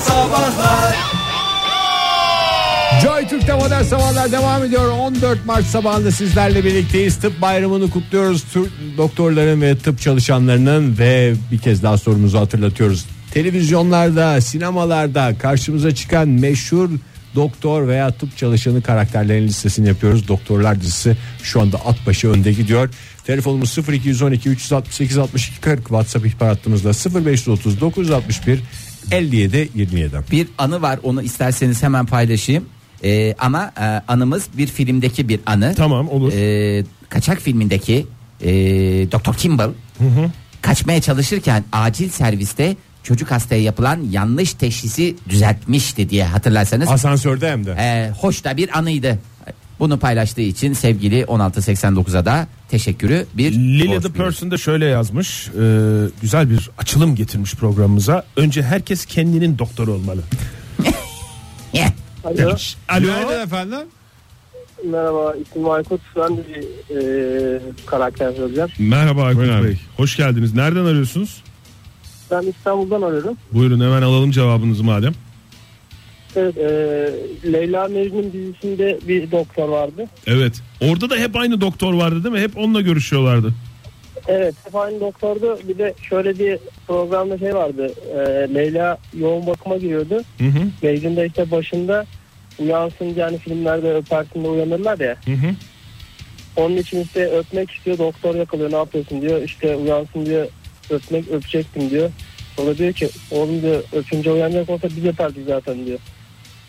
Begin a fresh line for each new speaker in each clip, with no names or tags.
Sabahlar
Joy Türk'te modern sabahlar devam ediyor 14 Mart sabahında sizlerle birlikteyiz Tıp bayramını kutluyoruz Türk doktorların ve tıp çalışanlarının Ve bir kez daha sorumuzu hatırlatıyoruz Televizyonlarda sinemalarda karşımıza çıkan meşhur doktor veya tıp çalışanı karakterlerinin listesini yapıyoruz Doktorlar dizisi şu anda at başı önde gidiyor Telefonumuz 0212 368 62 40 WhatsApp ihbar hattımızda 0530 961 57 27
Bir anı var onu isterseniz hemen paylaşayım. Ee, ama e, anımız bir filmdeki bir anı.
Tamam, olur.
Ee, kaçak filmindeki e, Dr. Kimball kaçmaya çalışırken acil serviste çocuk hastaya yapılan yanlış teşhisi düzeltmişti diye hatırlarsanız.
Asansörde hem de.
Ee, hoş da bir anıydı. Bunu paylaştığı için sevgili 1689'a da teşekkürü bir
Lily
borç
the
biliyoruz.
Person de şöyle yazmış. e, güzel bir açılım getirmiş programımıza. Önce herkes kendinin doktoru olmalı.
Yeah.
Alo,
Alo.
efendim
merhaba. İsmim Aykut. Ben de bir e, karakter söyleyeceğim.
Merhaba Aykut
Buyurun abi.
Bey. Hoş geldiniz. Nereden arıyorsunuz?
Ben İstanbul'dan arıyorum.
Buyurun hemen alalım cevabınızı madem.
Evet, e, Leyla Mecnun dizisinde bir doktor vardı.
Evet. Orada da hep aynı doktor vardı değil mi? Hep onunla görüşüyorlardı.
Evet, hep aynı doktordu. Bir de şöyle bir programda şey vardı. E, Leyla yoğun bakıma giriyordu.
Hı hı.
Mecnun da işte başında uyansın yani filmlerde öpersin de uyanırlar ya.
Hı hı.
Onun için işte öpmek istiyor. Doktor yakalıyor ne yapıyorsun diyor. İşte uyansın diyor. Öpmek öpecektim diyor. O da diyor ki oğlum diyor öpünce uyanacak olsa biz yapardık zaten diyor.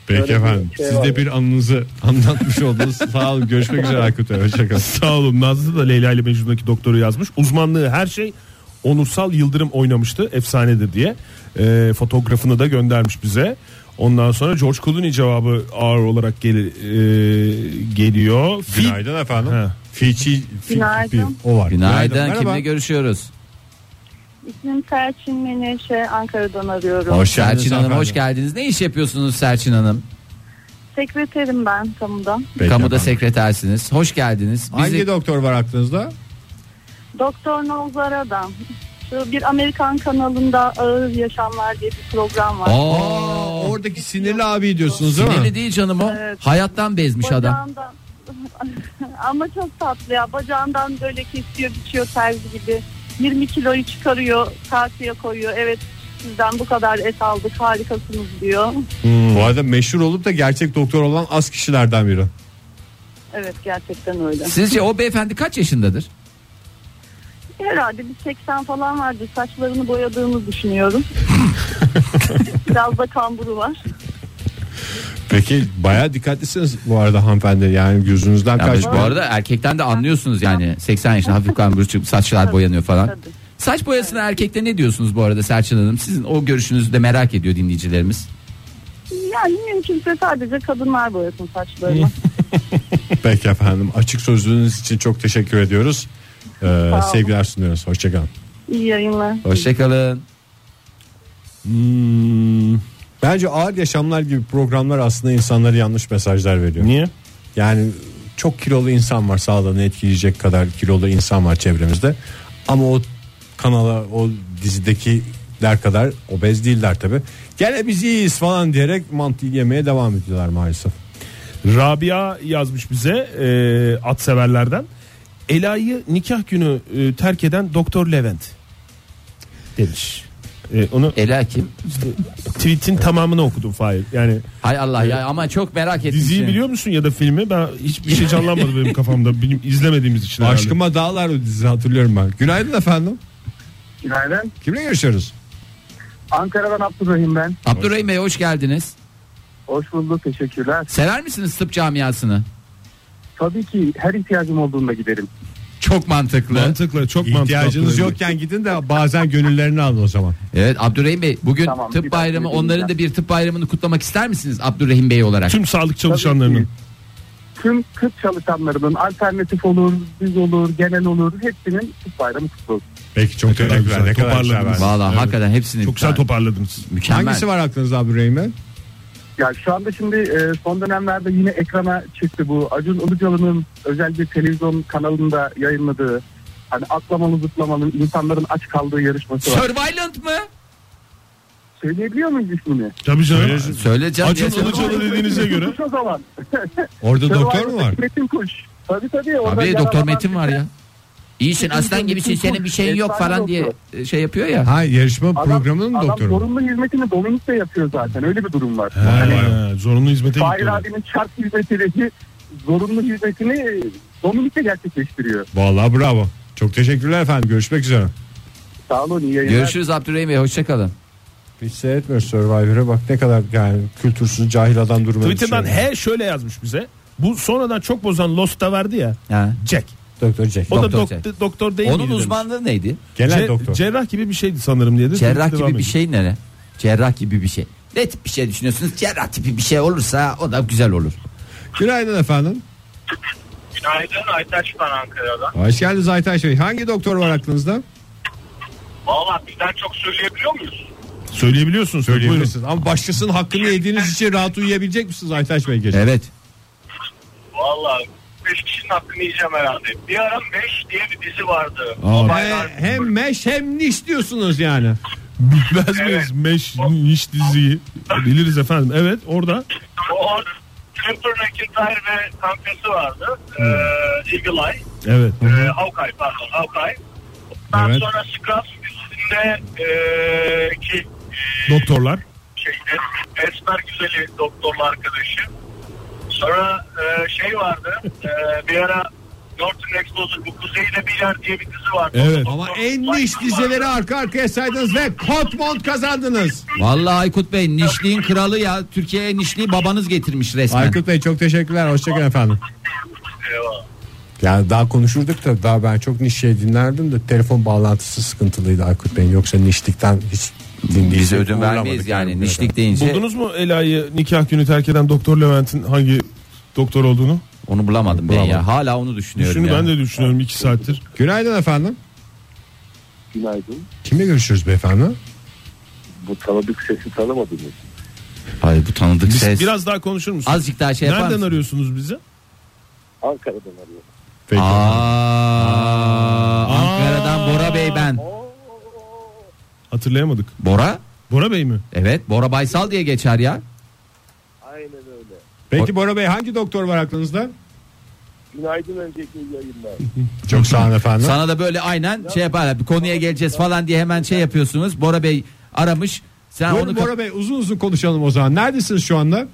Peki
Öyle bir
efendim.
şey
Siz de
var.
bir anınızı anlatmış oldunuz. Sağ olun. Görüşmek üzere Aykut Bey. Hoşçakalın.
Sağ olun. Nazlı da Leyla ile Mecnun'daki doktoru yazmış. Uzmanlığı her şey Onursal Yıldırım oynamıştı. Efsanedir diye. Ee, fotoğrafını da göndermiş bize. Ondan sonra George Clooney cevabı ağır olarak gel- e, geliyor. Fi-
Günaydın efendim.
Ha.
Fiçi, fi-
Günaydın.
fi- o var.
Günaydın.
Merhaba.
Kimle görüşüyoruz?
İsmim Selçin Menevşe, şey Ankara'dan arıyorum.
Hoş geldiniz
Selçin Hanım hoş
hanımefendi.
geldiniz. Ne iş yapıyorsunuz Selçin Hanım?
Sekreterim ben kamuda.
Peki
Kamuda
efendim.
sekretersiniz. Hoş geldiniz. Bizi-
Hangi doktor var aklınızda?
Doktor Nozar Adam. Şu bir Amerikan kanalında Ağır Yaşamlar diye bir program var.
Aa,
Aa, oradaki sinirli abi diyorsunuz değil mi?
Sinirli değil canım o.
Evet.
Hayattan bezmiş adam.
Bacağından- Ama çok tatlı ya. Bacağından böyle kesiyor, biçiyor terzi gibi. 20 kiloyu çıkarıyor, tartıya koyuyor. Evet sizden bu kadar et aldık harikasınız diyor.
Hmm, Bu arada meşhur olup da gerçek doktor olan az kişilerden biri.
Evet gerçekten öyle.
Sizce o beyefendi kaç yaşındadır?
Herhalde bir 80 falan vardı. Saçlarını boyadığını düşünüyorum. Biraz da kamburu var.
Peki baya dikkatlisiniz bu arada hanımefendi. Yani gözünüzden
Yani
kaç
bu arada erkekten de anlıyorsunuz yani. 80 yaşında hafif kambur çıkıp saçlar
Tabii,
boyanıyor falan.
tabii.
Saç boyasına erkekte ne diyorsunuz bu arada Selçin Hanım? Sizin o görüşünüzü de merak ediyor dinleyicilerimiz.
Yani mümkünse sadece kadınlar boyasın saçlarını.
Peki efendim. Açık sözlüğünüz için çok teşekkür ediyoruz. Ee,
olun.
sevgiler sunuyoruz. Hoşçakalın.
İyi yayınlar.
Hoşçakalın.
Hmm, bence ağır yaşamlar gibi programlar aslında insanlara yanlış mesajlar veriyor.
Niye?
Yani çok kilolu insan var sağlığını etkileyecek kadar kilolu insan var çevremizde. Ama o kanala o dizidekiler kadar obez değiller tabi. Gene biz iyiyiz falan diyerek mantıyı yemeye devam ediyorlar maalesef.
Rabia yazmış bize e, at severlerden. Ela'yı nikah günü e, terk eden Doktor Levent demiş. E, onu
Ela kim?
tweet'in tamamını okudum Fahir. Yani
Hay Allah ya ama çok merak ettim.
diziyi
şimdi.
biliyor musun ya da filmi? Ben hiçbir şey canlanmadı benim kafamda. Benim izlemediğimiz için herhalde.
Aşkıma dağlar o dizi hatırlıyorum ben. Günaydın efendim.
Günaydın.
Kimle görüşüyoruz?
Ankara'dan Abdurrahim ben.
Abdurrahim Bey hoş geldiniz.
Hoş bulduk. Teşekkürler.
Sever misiniz tıp camiasını?
Tabii ki her ihtiyacım olduğunda giderim.
Çok mantıklı.
Mantıklı çok mantıklı.
İhtiyacınız
Abdurrahim.
yokken gidin de bazen gönüllerini alın o zaman.
Evet Abdurrahim Bey bugün
Tamam, bir
tıp
dakika
bayramı
dinleyeceğim.
onların da bir tıp bayramını kutlamak ister misiniz Abdurrahim Bey olarak?
Tüm sağlık
Tabii
çalışanlarının.
ki Tüm tıp çalışanlarının alternatif olur, biz olur, genel olur. Hepsinin tıp bayramı kutlu olsun.
Peki çok
kadar
teşekkürler.
güzel,
Ne kadar güzel
toparladınız.
verdiniz.
Valla
Evet.
hakikaten hepsini
Çok güzel toparladınız.
mükemmel.
Hangisi var aklınızda Abdurrahim Bey?
Ya şu anda şimdi e, son dönemlerde yine ekrana çıktı bu. Acun Ilıcalı'nın özel bir televizyon kanalında yayınladığı hani atlamalı zıplamanın insanların aç kaldığı yarışması var.
Survivalent mı?
Söyleyebiliyor muyuz ismini?
Tabii canım.
Söyle canım.
Acun
yaşa-
Ilıcalı dediğinize göre.
Kuş o zaman.
Orada
Şey
doktor mu
Survivor'daki
var?
Metin Kuş. Tabii tabii. orada
Abi
yaralanan
doktor Metin var
bir-
ya. İyisin aslan gibisin senin bir şeyin yok falan diye şey yapıyor ya.
Ha yarışma
Adam-
programının
adam
doktoru. mu?
zorunlu hizmetini Dominik de yapıyor zaten. Öyle bir durum var.
Ha,
Yani
vay be. zorunlu hizmete
Fahir
gitti. o da.
abinin şart hizmetindeki zorunlu hizmetini Dominik de gerçekleştiriyor.
Vallahi bravo. Çok teşekkürler efendim. Görüşmek üzere.
Sağ olun iyi yayınlar.
Görüşürüz Abdurrahim Bey hoşçakalın.
Hiç seyretmiyoruz Survivor'a bak ne kadar yani kültürsüz cahil adam durumuna
Twitter'dan
düşüyor.
he şöyle yazmış bize. Bu sonradan çok bozan Lost'ta verdi ya.
Ha.
Jack.
Doktor Jack.
O da
Doktor
doktor, doktor değil
Onun
miydi demiş.
uzmanlığı neydi?
Genel
Ce-
doktor.
Cerrah gibi bir şeydi sanırım diye. de
Cerrah
devam
gibi bir
ediyor.
şey ne? Cerrah gibi bir şey. Ne tip bir şey düşünüyorsunuz? Cerrah tipi bir şey olursa o da güzel olur.
Günaydın efendim.
Günaydın Aytaç ben Ankara'dan.
Hoş geldiniz Aytaş Bey. Hangi doktor var aklınızda?
Valla bizden çok söyleyebiliyor muyuz?
şey-
Söyleyebiliyorsunuz. Buyurun.
Söyleyebilirsiniz. Ama başkasının hakkını yediğiniz için rahat uyuyabilecek misiniz Aytaş Bey gece?
Evet.
Valla 5 kişinin hakkını yiyeceğim herhalde. Bir ara Meş diye bir dizi vardı.
He- hem meş hem niş diyorsunuz yani.
Bilmez miyiz Meş Niş diziyi? Biliriz efendim. Evet orada.
O orada Trevor McIntyre ve kankası vardı. Ee, Eagle Eye.
Evet.
Ee, Hawkeye pardon Hawkeye. Ondan
Evet.
sonra Scrubs üstünde ee, ki ee,
Doktorlar.
şeyde Esmer Güzeli doktorlu arkadaşı. Sonra e, şey vardı e, bir ara Norton Exposure bu Kuzeyde Biler diye bir dizi vardı.
Evet.
Ama en niş dizeleri arka arkaya saydınız ve Kotmont kazandınız.
Vallahi Aykut Bey nişliğin kralı ya. Türkiye'ye nişliği babanız getirmiş resmen.
Aykut Bey çok teşekkürler. Hoşçakalın efendim.
Eyvallah.
Yani daha konuşurduk da daha ben çok niş şey dinlerdim de telefon bağlantısı sıkıntılıydı Aykut Bey'in. Yoksa nişlikten hiç dinleyici
Biz ödün
uğurlamadık
vermeyiz yani.
bugüne
Nişlik
kadar.
deyince
Buldunuz mu Ela'yı nikah günü terk eden Doktor Levent'in hangi doktor olduğunu?
onu bulamadım ben ya. Hala onu düşünüyorum
Şunu
ya.
ben de düşünüyorum iki saattir.
Günaydın efendim.
Günaydın.
Kimle görüşürüz beyefendi?
Bu tanıdık sesi tanımadınız.
Ay bu tanıdık
Biz-
ses.
Biraz daha konuşur musunuz?
Azıcık daha şey yapar
Nereden
mısın?
arıyorsunuz bizi?
Ankara'dan arıyorum.
Peki.
Aa, Ankara'dan Bora Bey ben.
Hatırlayamadık.
Bora?
Bora Bey mi?
Evet Bora Baysal diye geçer ya.
Aynen öyle.
Peki Bora Bey hangi doktor var aklınızda?
Günaydın önceki yayınlar.
Çok sağ olun efendim.
Sana da böyle aynen şey yapar. Bir konuya geleceğiz falan diye hemen şey yapıyorsunuz. Bora Bey aramış. Sen
Buyurun
onu
Bora Bey uzun uzun konuşalım o zaman. Neredesiniz şu anda?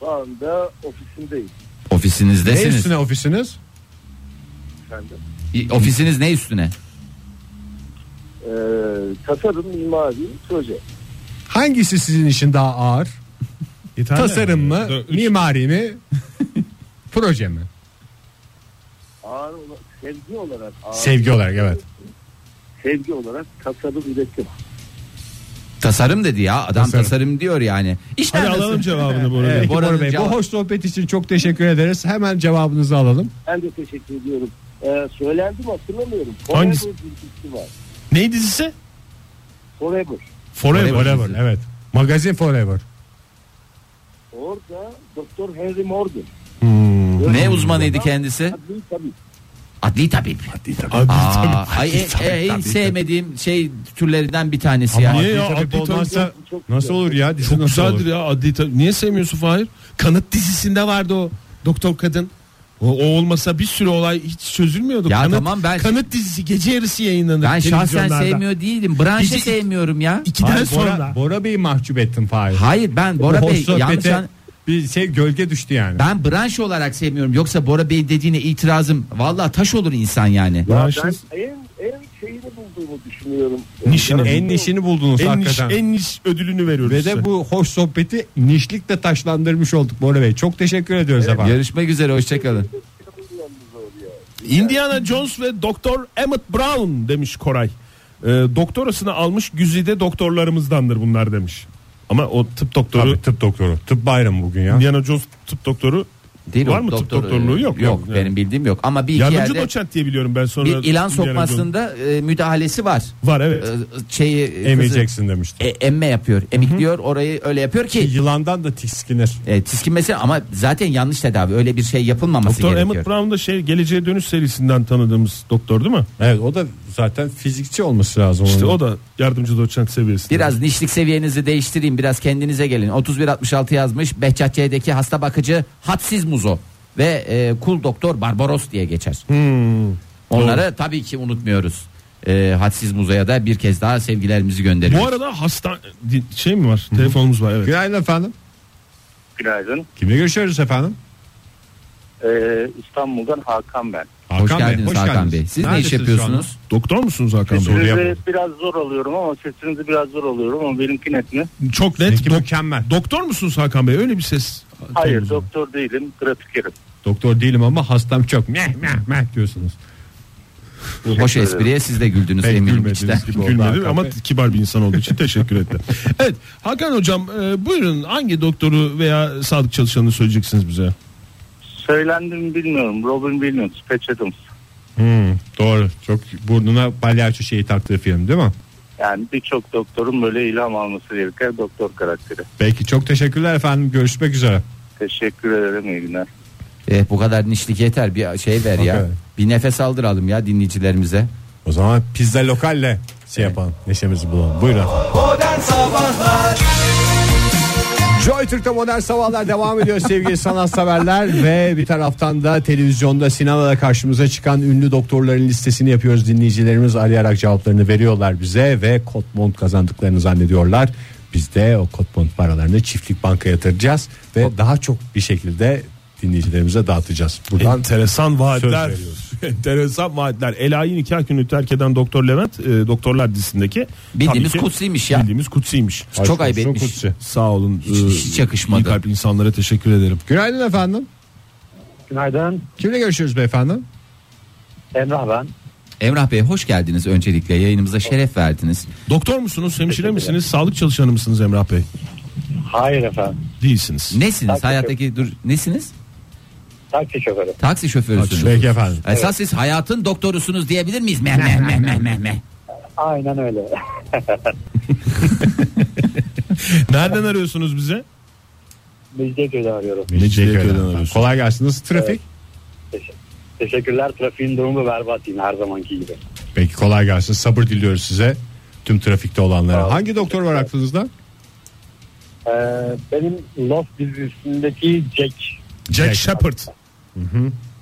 Şu anda ofisimdeyim
Ne
ofisinizdesiniz.
üstüne ofisiniz?
efendim.
İ- Ofisiniz ne üstüne?
Ee, tasarım, mimari, proje.
Hangisi sizin için daha ağır?
Yeterli.
Tasarım mı?
Dö- üç-
Mimari mi? Proje mi?
Ağır ola- sevgi olarak ağır.
Sevgi olarak evet.
sevgi olarak tasarım üretim.
Tasarım dedi ya. Adam tasarım,
Tasarım.
diyor yani. İşler
Hadi
nasıl?
alalım cevabını Bora Bey.
Peki
Bora'nın
Bora Bey
cevabı-
bu hoş sohbet için çok teşekkür ederiz. Hemen cevabınızı alalım.
Ben de teşekkür ediyorum. Ee, söylendim hatırlamıyorum.
Hangisi?
Forever dizisi var.
Ney dizisi?
Forever.
Forever.
Forever evet. Magazin Forever.
Orada Doktor Henry Morgan.
Ne uzmanıydı kendisi?
Adli tabii.
Adli tabip.
Adli
Aa,
tabip.
ay, e- e- en sevmediğim şey türlerinden bir tanesi ya.
Niye ya?
Tabii
Adli
olmazsa
Tabip
çok
nasıl olur ya? Dizi
Çok
nasıl olur?
güzeldir ya adli tabip. Niye sevmiyorsun Fahir? Kanıt dizisinde vardı o doktor kadın. O, o olmasa bir sürü olay hiç çözülmüyordu.
Ya
kanıt,
tamam ben-
kanıt dizisi gece yarısı yayınlanır.
Ben şahsen
televizyonlarda.
sevmiyor değilim. Branşı
Bizi-
sevmiyorum ya.
İkiden
Hayır,
sonra.
Bora, Bora Bey'i mahcup ettin Fahir.
Hayır ben Bora
Bu hoş
Bey yanlış
sohbete
an-
bir şey gölge düştü yani.
ben branş olarak sevmiyorum. Yoksa Bora Bey dediğine itirazım. Vallahi taş olur insan yani.
Ya
Maaşınız-
ben en, en şeyini bulduğumu düşünüyorum.
Nişini.
Yani-
en nişini buldunuz
En niş,
hakikaten.
en niş ödülünü veriyoruz
Ve
size.
de bu hoş sohbeti nişlikle taşlandırmış olduk Bora Bey. Çok teşekkür ediyoruz efendim.
Görüşmek üzere hoşçakalın.
Indiana Jones ve Doktor Emmett Brown demiş Koray. Ee, doktorasını almış güzide doktorlarımızdandır bunlar demiş. Ama o tıp doktoru
Tabii, tıp doktoru. Tıp bayramı bugün ya.
Indiana Jones tıp doktoru
Değil
var
o
mı tıp
doktor-
doktorluğu yok.
Yok
yani.
benim bildiğim yok. Ama bir iki
Yardımcı
yerde
doçent diye biliyorum ben sonra.
bir ilan
Indiana Jones.
sokmasında e, müdahalesi var.
Var evet.
E, şeyi e,
Emeceksin demişti.
kızı- e, emme yapıyor. Emikliyor orayı öyle yapıyor ki
Yılandan da tiksinir.
e, tiskinmesi ama zaten yanlış tedavi. Öyle bir şey yapılmaması
Doktor
gerekiyor.
Emmett Brown da şey Geleceğe Dönüş serisinden tanıdığımız doktor değil mi?
Evet o da Zaten fizikçi olması lazım.
İşte
onun.
o da yardımcı doçent seviyesinde.
Biraz nişlik seviyenizi değiştireyim. Biraz kendinize gelin. 3166 yazmış. Behçatçı'daki hasta bakıcı Hadsiz Muzo ve e, kul doktor Barbaros diye geçer. Onları tabii ki unutmuyoruz. E, Hadsiz Muzo'ya da bir kez daha sevgilerimizi
Bu
gönderiyoruz.
arada hasta di- şey mi var? Telefonumuz var evet.
Günaydın efendim.
Günaydın.
Kimle görüşüyoruz efendim?
Ee, İstanbul'dan Hakan ben.
Hoş
Hakan Bey,
geldiniz Hakan
geldiniz.
Bey. Siz ne iş
Neredesiniz şu
yapıyorsunuz?
Doktor musunuz Hakan Bey?
Soru
Sizi
yapalım.
biraz zor alıyorum ama sesinizi biraz zor alıyorum ama benimki net mi?
Çok
anda?
net.
Peki,
dok-
mükemmel.
doktor musunuz Hakan Bey? Öyle bir ses. Şey,
Hayır
tonunuz var.
doktor değilim grafikerim.
Doktor değilim ama hastam çok. Meh meh meh diyorsunuz.
Hoş espriye siz de güldünüz
Ben
eminim
gülmediğiniz
içten.
gibi oldu
Gülmedim
Hakan
ama
Bey.
kibar bir insan olduğu için teşekkür etti. Evet Hakan hocam e, buyurun hangi doktoru veya sağlık çalışanını söyleyeceksiniz bize?
Söylendim bilmiyorum. Robin Williams, Patch Adams.
Hmm, doğru. Çok burnuna palyaço şeyi taktığı film değil mi?
Yani birçok doktorun böyle ilham alması gereken doktor karakteri.
Peki çok teşekkürler efendim. Görüşmek üzere.
Teşekkür ederim iyi günler.
Eh, bu kadar nişlik yeter bir şey ver ya.
Okey.
Bir nefes aldıralım ya dinleyicilerimize.
O zaman pizza lokalle şey yapalım. Neşemizi bulalım. Buyurun. Joy Türk'te modern sabahlar devam ediyor sevgili sanatseverler ve bir taraftan da televizyonda sinemada karşımıza çıkan ünlü doktorların listesini yapıyoruz dinleyicilerimiz arayarak cevaplarını veriyorlar bize ve kotmont kazandıklarını zannediyorlar. Biz de o kotmont paralarını çiftlik banka yatıracağız ve daha çok bir şekilde dinleyicilerimize dağıtacağız. Buradan
Enteresan vaatler.
Söz veriyoruz.
Enteresan vaatler. Elayi nikah günü terk eden Doktor Levent e, doktorlar dizisindeki
Bildiğimiz
tabii ki
kutsiymiş ya.
Bildiğimiz kutsiymiş.
Çok
Aşk
ayıp
olsun
etmiş.
Kutsi.
Sağ olun.
Hiç-
e,
hiç yakışmadı.
iyi kalpli insanlara teşekkür ederim.
Günaydın efendim.
Günaydın.
Kimle görüşüyoruz beyefendi?
Emrah ben.
Emrah Bey hoş geldiniz öncelikle yayınımıza şeref verdiniz.
Doktor musunuz, hemşire misiniz, sağlık çalışanı mısınız Emrah Bey?
Hayır efendim.
Değilsiniz.
Nesiniz
Taksi
hayattaki dur nesiniz?
Taksi şoförü.
Taksi şoförüsünüz.
Peki efendim.
Esas siz hayatın doktorusunuz diyebilir miyiz? Meh meh meh meh meh meh.
Aynen öyle.
Nereden arıyorsunuz bize?
Mecidiyeköy'den arıyorum.
Mecidiyeköy'den
Teşekkür ederim.
arıyorsun.
Kolay gelsin. Nasıl trafik?
Teşekkürler. Trafiğin durumu berbat yine her zamanki gibi.
Peki kolay gelsin. Sabır diliyoruz size. Tüm trafikte olanlara.
Sağ olun.
Hangi doktor var aklınızda?
Ee, benim Lost dizisindeki Jack.
Jack Shepard.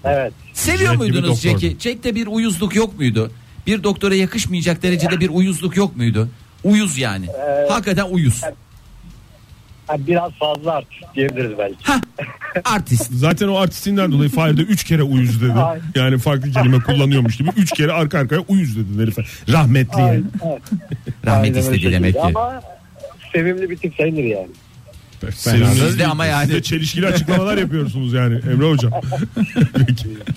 Evet.
Seviyor
gibi
muydunuz
doktordu.
Jack'i? Jack'te bir uyuzluk yok muydu? Bir doktora yakışmayacak derecede bir uyuzluk yok muydu? Uyuz yani.
Ee,
Hakikaten uyuz.
Yani biraz fazla artık diyebiliriz belki.
Hah. Artist.
Zaten o artistinden dolayı Fahir'de 3 kere uyuz dedi.
Ay.
Yani farklı kelime kullanıyormuş gibi 3 kere arka arkaya uyuz dedi herife. Rahmetli yani.
Rahmet
Aynen öyle
istedi
şekilde.
demek ki.
Ama sevimli bir tip sayılır yani.
Sevimli
Siz de
değil.
ama
Siz de
yani.
çelişkili açıklamalar yapıyorsunuz yani Emre Hocam.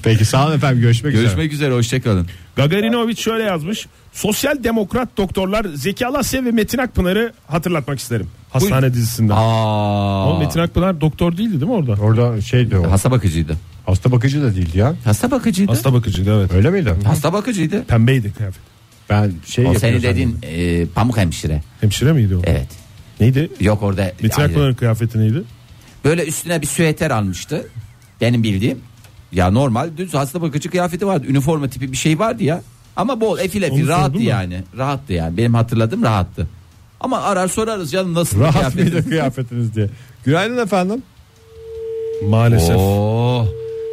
Peki sağ olun efendim. Görüşmek, üzere.
Görüşmek üzere hoşçakalın.
Gagarinovic şöyle yazmış. Sosyal demokrat doktorlar Zeki Alasya ve Metin Akpınar'ı hatırlatmak isterim. Hastane dizisinden. Ama
Aa.
Metin Akpınar doktor değildi değil mi orada?
Orada şeydi o.
Hasta bakıcıydı.
Hasta bakıcı da değildi ya.
Hasta bakıcıydı. Şey Hasta,
Hasta bakıcıydı evet.
Öyle miydi?
bakıcıydı.
Pembeydi kıyafet.
Ben şey
O
yapıyor
seni
zannediyorum.
dedin e, pamuk hemşire.
Hemşire miydi o?
Evet.
Neydi?
Yok orada
Metin
yani
Akpınar'ın kıyafeti neydi?
böyle üstüne bir süeter almıştı. Benim bildiğim. Ya normal düz hasta bakıcı kıyafeti vardı. Üniforma tipi bir şey vardı ya. Ama bol efil efil
Onu
rahattı
sordun mu?
yani. Rahattı yani. Benim hatırladığım rahattı. Ama arar sorarız canım nasıl bir
Rahat
kıyafet?
mıydı kıyafetiniz diye. Günaydın efendim.
Maalesef.
Oo. Oh,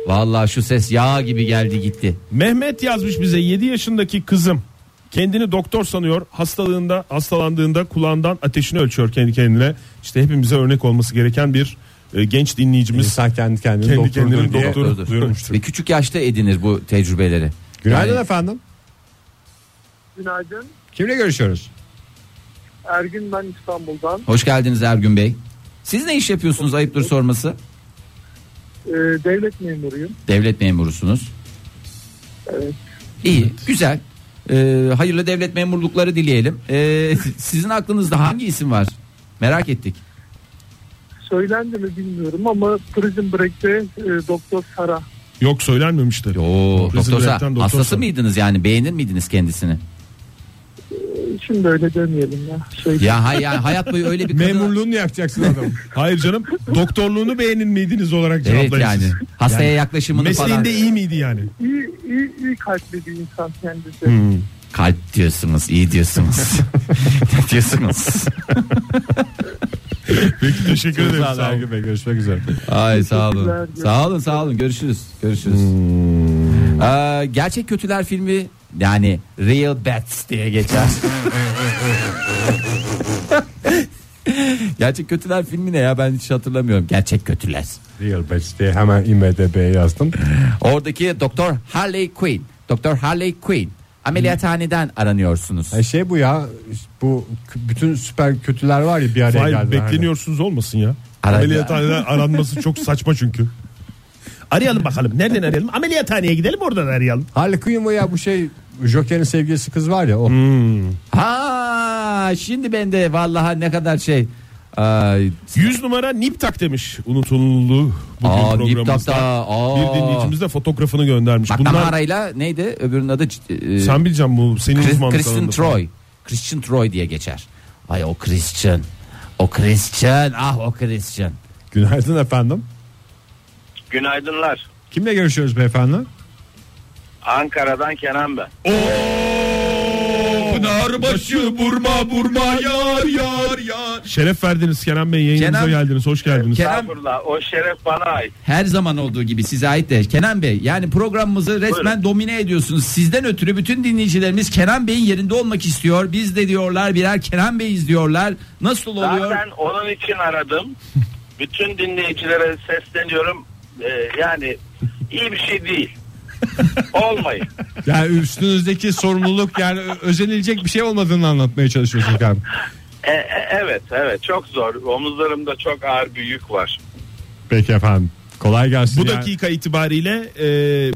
Vallahi şu ses yağ gibi geldi gitti.
Mehmet yazmış bize 7 yaşındaki kızım kendini doktor sanıyor. Hastalığında hastalandığında kulağından ateşini ölçüyor kendi kendine. İşte hepimize örnek olması gereken bir e, genç dinleyicimiz.
İnsan kendi kendini
Kendi
doktordur
kendinin
diye
doktoru.
Doktordur.
duyurmuştur.
Ve küçük yaşta edinir bu tecrübeleri.
Günaydın
Yani-
efendim.
Günaydın.
Kimle görüşüyoruz?
Ergün ben İstanbul'dan.
Hoş geldiniz Ergün Bey. Siz ne iş yapıyorsunuz ayıptır sorması?
Ee, devlet memuruyum.
Devlet memurusunuz.
Evet.
İyi, güzel. Ee, hayırlı devlet memurlukları dileyelim. Ee, sizin aklınızda hangi isim var? Merak ettik.
Söylendi mi bilmiyorum ama Prison Break'te e, Doktor Sara
Yok söylenmemişti.
Oo,
Prison
doktorsa
Break'ten doktor
hastası
sanırım.
mıydınız yani beğenir miydiniz kendisini?
Şimdi öyle demeyelim ya. Şey,
Ya hay ya hayat boyu öyle bir kadın.
Memurluğunu yapacaksın adam.
Hayır canım doktorluğunu beğenin miydiniz olarak
Evet
cevaplayın
yani
siz.
hastaya yaklaşımını
Mesleğinde
falan.
iyi miydi yani?
iyi, iyi, iyi kalpli bir insan kendisi.
Kalp diyorsunuz, iyi diyorsunuz. ne diyorsunuz?
Peki teşekkür ederim. Sağ olun.
Ergün Bey görüşmek üzere.
Ay sağ olun.
Teşekkürler.
Sağ olun, sağ olun. Görüşürüz. Görüşürüz. Ee, Gerçek Kötüler filmi yani Real Bats diye geçer. Gerçek Kötüler filmi ne ya ben hiç hatırlamıyorum. Gerçek Kötüler.
Real Bats diye hemen IMDB'ye yazdım.
Oradaki Doktor Harley Quinn. Doktor Harley Quinn. Ameliyathaneden aranıyorsunuz.
E şey bu ya bu k- bütün süper kötüler var ya bir araya
Hayır
geldi.
bekleniyorsunuz olmasın ya.
Ara-
Ameliyathaneden aranması çok saçma çünkü. Arayalım bakalım. Nereden arayalım? Ameliyathaneye gidelim oradan arayalım.
Hani. Harley Quinn bu ya bu şey Joker'in sevgilisi kız var ya o.
Hmm.
Ha şimdi ben de vallahi ne kadar şey. Ay,
100 numara Niptak demiş. Unutuldu bugün
Aa,
programımızda.
Niptak da, aa.
Bir dinleyicimiz de fotoğrafını göndermiş.
bak
Bunlar
damarayla neydi öbürünün adı? C- e,
sen bileceksin bu senin
Chris-
uzmanlık
Christian
alanında.
Troy. Christian Troy diye geçer. Ay o Christian. O Christian. Ah o Christian.
Günaydın efendim.
Günaydınlar.
Kimle görüşüyoruz beyefendi?
Ankara'dan Kenan ben.
Pınarbaşı vurma vurma yar yar yar. Şeref verdiniz Kenan Bey yayınımıza
Kenan-
geldiniz. Hoş geldiniz.
Kenan-
Estağfurullah o şeref bana ait.
Her zaman olduğu gibi size ait de Kenan Bey yani programımızı resmen
Buyurun.
domine ediyorsunuz. Sizden ötürü bütün dinleyicilerimiz Kenan Bey'in yerinde olmak istiyor. Biz de diyorlar birer Kenan Bey'iz diyorlar. Nasıl oluyor?
Zaten onun için aradım. Bütün dinleyicilere sesleniyorum. Ee, yani iyi bir şey değil. Olmayın.
Yani üstünüzdeki sorumluluk yani ö- özenilecek bir şey olmadığını anlatmaya çalışıyorsunuz yani.
E- e- evet evet çok zor. Omuzlarımda çok ağır bir yük var.
Peki efendim. Kolay gelsin.
Bu dakika itibariyle e,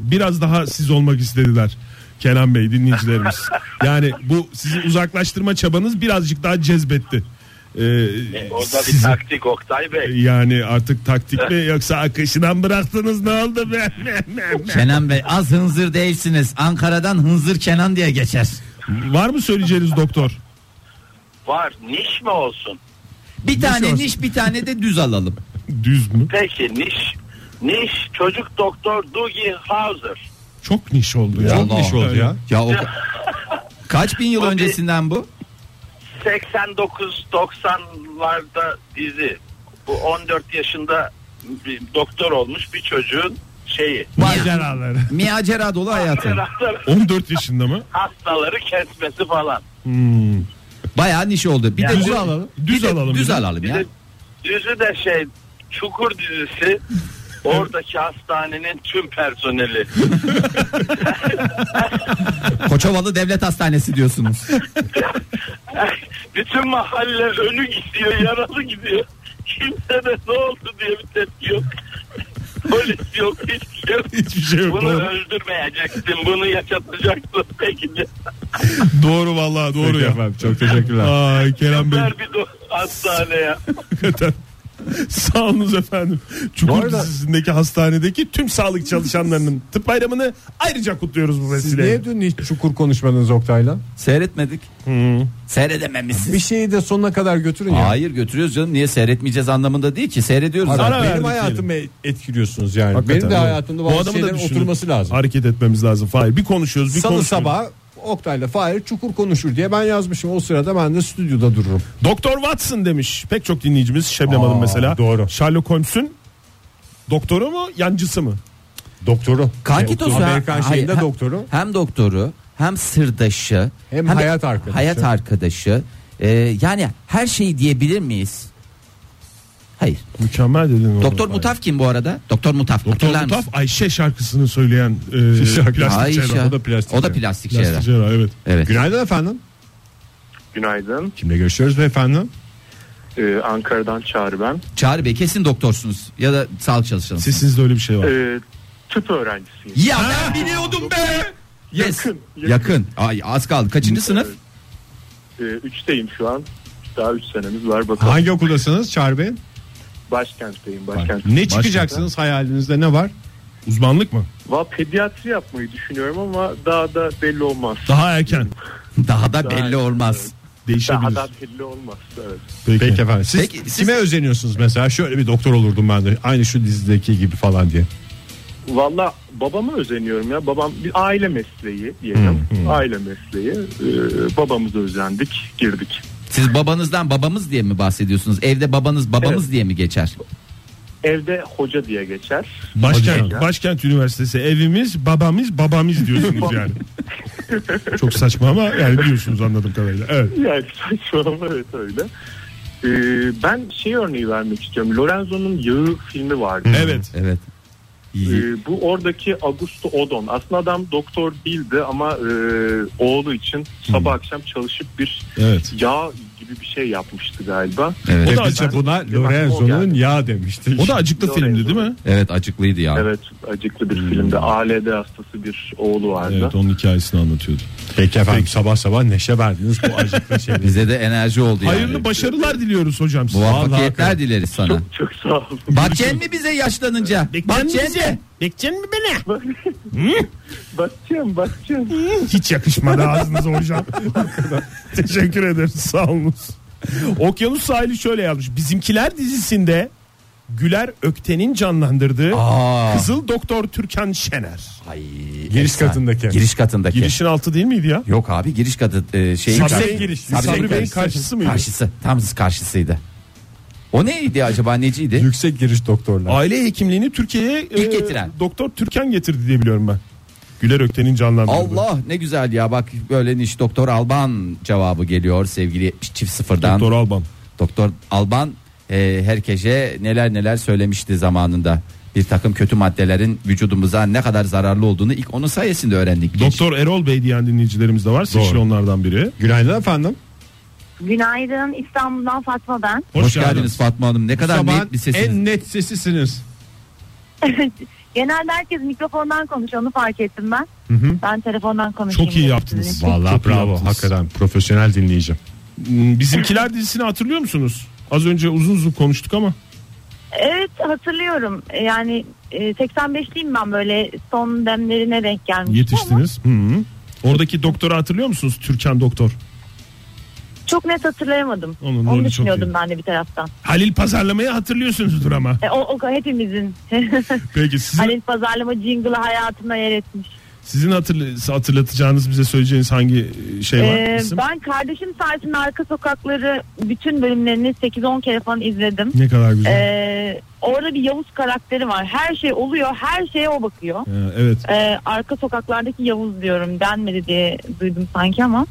biraz daha siz olmak istediler. Kenan Bey dinleyicilerimiz. yani bu sizi uzaklaştırma çabanız birazcık daha cezbetti. E,
E, orada bir
sizi-
taktik Oktay Bey.
yani artık taktik mi yoksa akışına mı bıraktınız ne oldu be?
Kenan Bey az hınzır değilsiniz. Ankara'dan hınzır Kenan diye geçer.
Var mı söyleyeceğiniz doktor?
Var niş mi olsun?
Bir tane
olsun?
niş bir tane de düz alalım.
Düz mü?
Peki niş. Niş çocuk doktor Dougie Hauser.
Çok niş oldu ya.
Çok niş oldu
ya.
Ya o kaç bin yıl
O bir-
öncesinden bu?
89-90'larda dizi. Bu 14 yaşında bir doktor olmuş bir çocuğun şeyi.
Maceraları.
Miyacera dolu hayatı.
Cerrahlar
14 yaşında mı?
Hastaları kesmesi falan.
Bayağı niş oldu. Bir de
Yani-
düz alalım.
alalım. Düz alalım.
Düz
bizim.
alalım
Bir
ya.
de dizi de şey Çukur dizisi oradaki hastanenin tüm personeli.
Koçovalı Devlet Hastanesi diyorsunuz.
Bütün mahalle önü gidiyor, yaralı gidiyor. Kimse de ne oldu diye bir tepki yok. Polis yok, hiçbir şey yok.
Hiçbir şey yok.
Bunu
Doğru,
öldürmeyeceksin, bunu yaşatacaksın. Peki
doğru vallahi doğru
Peki
ya.
efendim çok teşekkürler.
Ay Kerem Bey.
ver bir do- hastaneye.
Hakikaten. Sağolunuz efendim.
Bu
Çukur
arada-
dizisindeki hastanedeki tüm sağlık çalışanlarının tıp bayramını ayrıca kutluyoruz bu
Siz
vesileyle.
niye dün hiç çukur konuşmadınız Oktay'la?
Seyretmedik.
Bir
Seyredememişsin.
şeyi de sonuna kadar götürün şey ya.
Hayır götürüyoruz canım. Niye seyretmeyeceğiz anlamında değil ki. Seyrediyoruz
Ara-
zaten.
Ara
benim
verdik
hayatımı
e,
etkiliyorsunuz yani.
Hakikaten,
benim de
evet.
hayatımda
Bu
bazı
adamı da
şeylerin
düşünün.
oturması lazım.
Hareket etmemiz lazım. Hayır bir konuşuyoruz bir
Salı
konuşmuyoruz.
sabah Oktay'la Fahir çukur konuşur diye ben yazmışım. O sırada ben de stüdyoda dururum.
Doktor Watson demiş. Pek çok dinleyicimiz Şebnem
Aa,
Hanım mesela.
doğru.
Sherlock Holmes'un doktoru mu yancısı mı?
Doktoru.
Kanki Tosun-
Amerikan
Hayır,
şeyinde
hem-
doktoru.
Hem doktoru hem sırdaşı.
Hem hayat arkadaşı.
Hayat arkadaşı. Ee, yani her şeyi diyebilir miyiz? Hayır.
Mükemmel dedin.
Doktor Mutaf kim bu arada? Doktor Mutaf.
Doktor
hatırlar mısın?
Mutaf Ayşe şarkısını söyleyen e,
Şarkı.
plastik
Ayşe.
cerrah.
o da plastik
O da
cerrah.
plastik cerrah.
Plastik cerrah evet.
Evet.
Günaydın efendim.
Günaydın.
Kimle görüşüyoruz beyefendi?
Ee, Ankara'dan Çağrı ben.
Çağrı Bey kesin doktorsunuz ya da sağlık çalışanı.
Sesinizde öyle bir şey var.
Ee, tıp öğrencisiyim.
Ya ben biliyordum be. Yes.
Yakın,
Yakın. Ay az kaldı. Kaçıncı sınıf?
Ee, üçteyim şu an. Daha üç senemiz var bakalım.
Hangi okuldasınız Çağrı Bey?
Başkentteyim. Başkent.
Ne çıkacaksınız hayalinizde ne var?
Uzmanlık mı?
Va pediatri yapmayı düşünüyorum ama daha da belli olmaz.
Daha erken.
Daha da belli
Daha-
olmaz.
Daha
Değişebilir.
da belli olmaz. Evet.
Peki.
Peki efendim. Siz
Peki, siz-
kime özeniyorsunuz mesela? Şöyle bir doktor olurdum ben de. Aynı şu dizideki gibi falan diye.
Valla babama özeniyorum ya. Babam bir aile mesleği diyelim. Aile mesleği. Ee, babamıza özendik, girdik.
Siz babanızdan babamız diye mi bahsediyorsunuz? Evde babanız babamız diye mi geçer?
Evde hoca diye geçer.
Başkent,
Hocam.
Başkent Üniversitesi evimiz babamız babamız diyorsunuz yani. Çok saçma ama yani diyorsunuz anladığım kadarıyla. Evet.
Yani saçmalama evet öyle. Ee, ben şey örneği vermek istiyorum. Lorenzo'nun Yağı filmi vardı.
Evet.
Evet.
Ee, bu oradaki Augusto Odon. Aslında adam doktor değildi ama e, oğlu için sabah akşam çalışıp bir
Evet.
yağ gibi bir şey yapmıştı galiba.
Evet.
O da
Hepsi
acık,
buna Lorenzo'nun ya demişti.
o da acıklı filmdi değil mi? Hmm.
Evet acıklıydı ya.
Evet acıklı bir filmde ALD hastası bir oğlu vardı.
Evet onun hikayesini anlatıyordu.
Peki efendim sabah sabah neşe verdiniz bu acıklı şey.
Bize de enerji oldu yani.
Hayırlı başarılar diliyoruz hocam size.
Muvaffakiyetler dileriz sana.
Çok sağ olun.
Bahçen mi bize yaşlanınca? Bahçen mi?
Bekçen mi beni?
Bakacağım bakacağım.
Hiç yakışmadı ağzınıza hocam. Teşekkür ederiz sağ olunuz. Okyanus sahili şöyle yazmış. Bizimkiler dizisinde Güler Ökten'in canlandırdığı Kızıl Doktor Türkan Şener.
Giriş katındaki.
Giriş katındaki.
Girişin altı değil miydi ya?
Yok abi giriş katı e, şeyin
Sabri
karşı-
Bey'in girişi.
Sabri
Sabri Bey'in
karşısı.
karşısı mıydı?
Karşısı. Tam karşısıydı. O neydi acaba neciydi?
Yüksek giriş doktorlar.
Aile hekimliğini Türkiye'ye e,
İlk getiren.
Doktor Türkan getirdi diye biliyorum ben. Güler Ökten'in canlandırdığı.
Allah ne güzel ya bak böyle niş Doktor Alban cevabı geliyor sevgili çift sıfırdan.
Doktor
Doktor,
Alban.
Alban e, herkese neler neler söylemişti zamanında. Bir takım kötü maddelerin vücudumuza ne kadar zararlı olduğunu ilk onun sayesinde öğrendik.
Doktor Erol Bey diyen dinleyicilerimiz de var. Seçil onlardan biri.
Günaydın efendim.
Günaydın İstanbul'dan Fatma ben.
Hoş,
Hoş,
geldiniz.
geldiniz.
Fatma Hanım. Ne kadar
Sabahın
net bir sesiniz.
en net sesisiniz.
Genelde herkes mikrofondan konuşuyor onu fark ettim ben. Ben telefondan konuşayım.
Çok iyi
dedim
yaptınız.
sizin için.
Vallahi
Çok iyi
bravo
yaptınız.
hakikaten profesyonel dinleyicim.
Hmm, Bizimkiler dizisini hatırlıyor musunuz? Az önce uzun uzun konuştuk ama.
Evet hatırlıyorum. Yani e, 85'liyim ben böyle son demlerine denk gelmiştim ama
Yetiştiniz. Hı hı. Oradaki doktoru hatırlıyor musunuz? Türkan doktor.
çok net hatırlayamadım.
Onun rolü
Onu
çok
düşünüyordum
iyi.
ben de bir taraftan.
Halil pazarlamayı hatırlıyorsunuzdur ama.
E, o, o hepimizin
Peki sizin,
Halil Pazarlama jingle'ı hayatına yer etmiş.
sizin hatırl- hatırlatacağınız bize söyleyeceğiniz hangi şey var?
Ee,
İsim?
ben kardeşim sayesinde arka sokakları bütün bölümlerini 8-10 kere falan izledim.
Ne kadar güzel.
Ee, orada bir Yavuz karakteri var. Her şey oluyor, her şeye o bakıyor.
Ha, evet.
Ee, arka sokaklardaki Yavuz diyorum denmedi diye duydum sanki ama.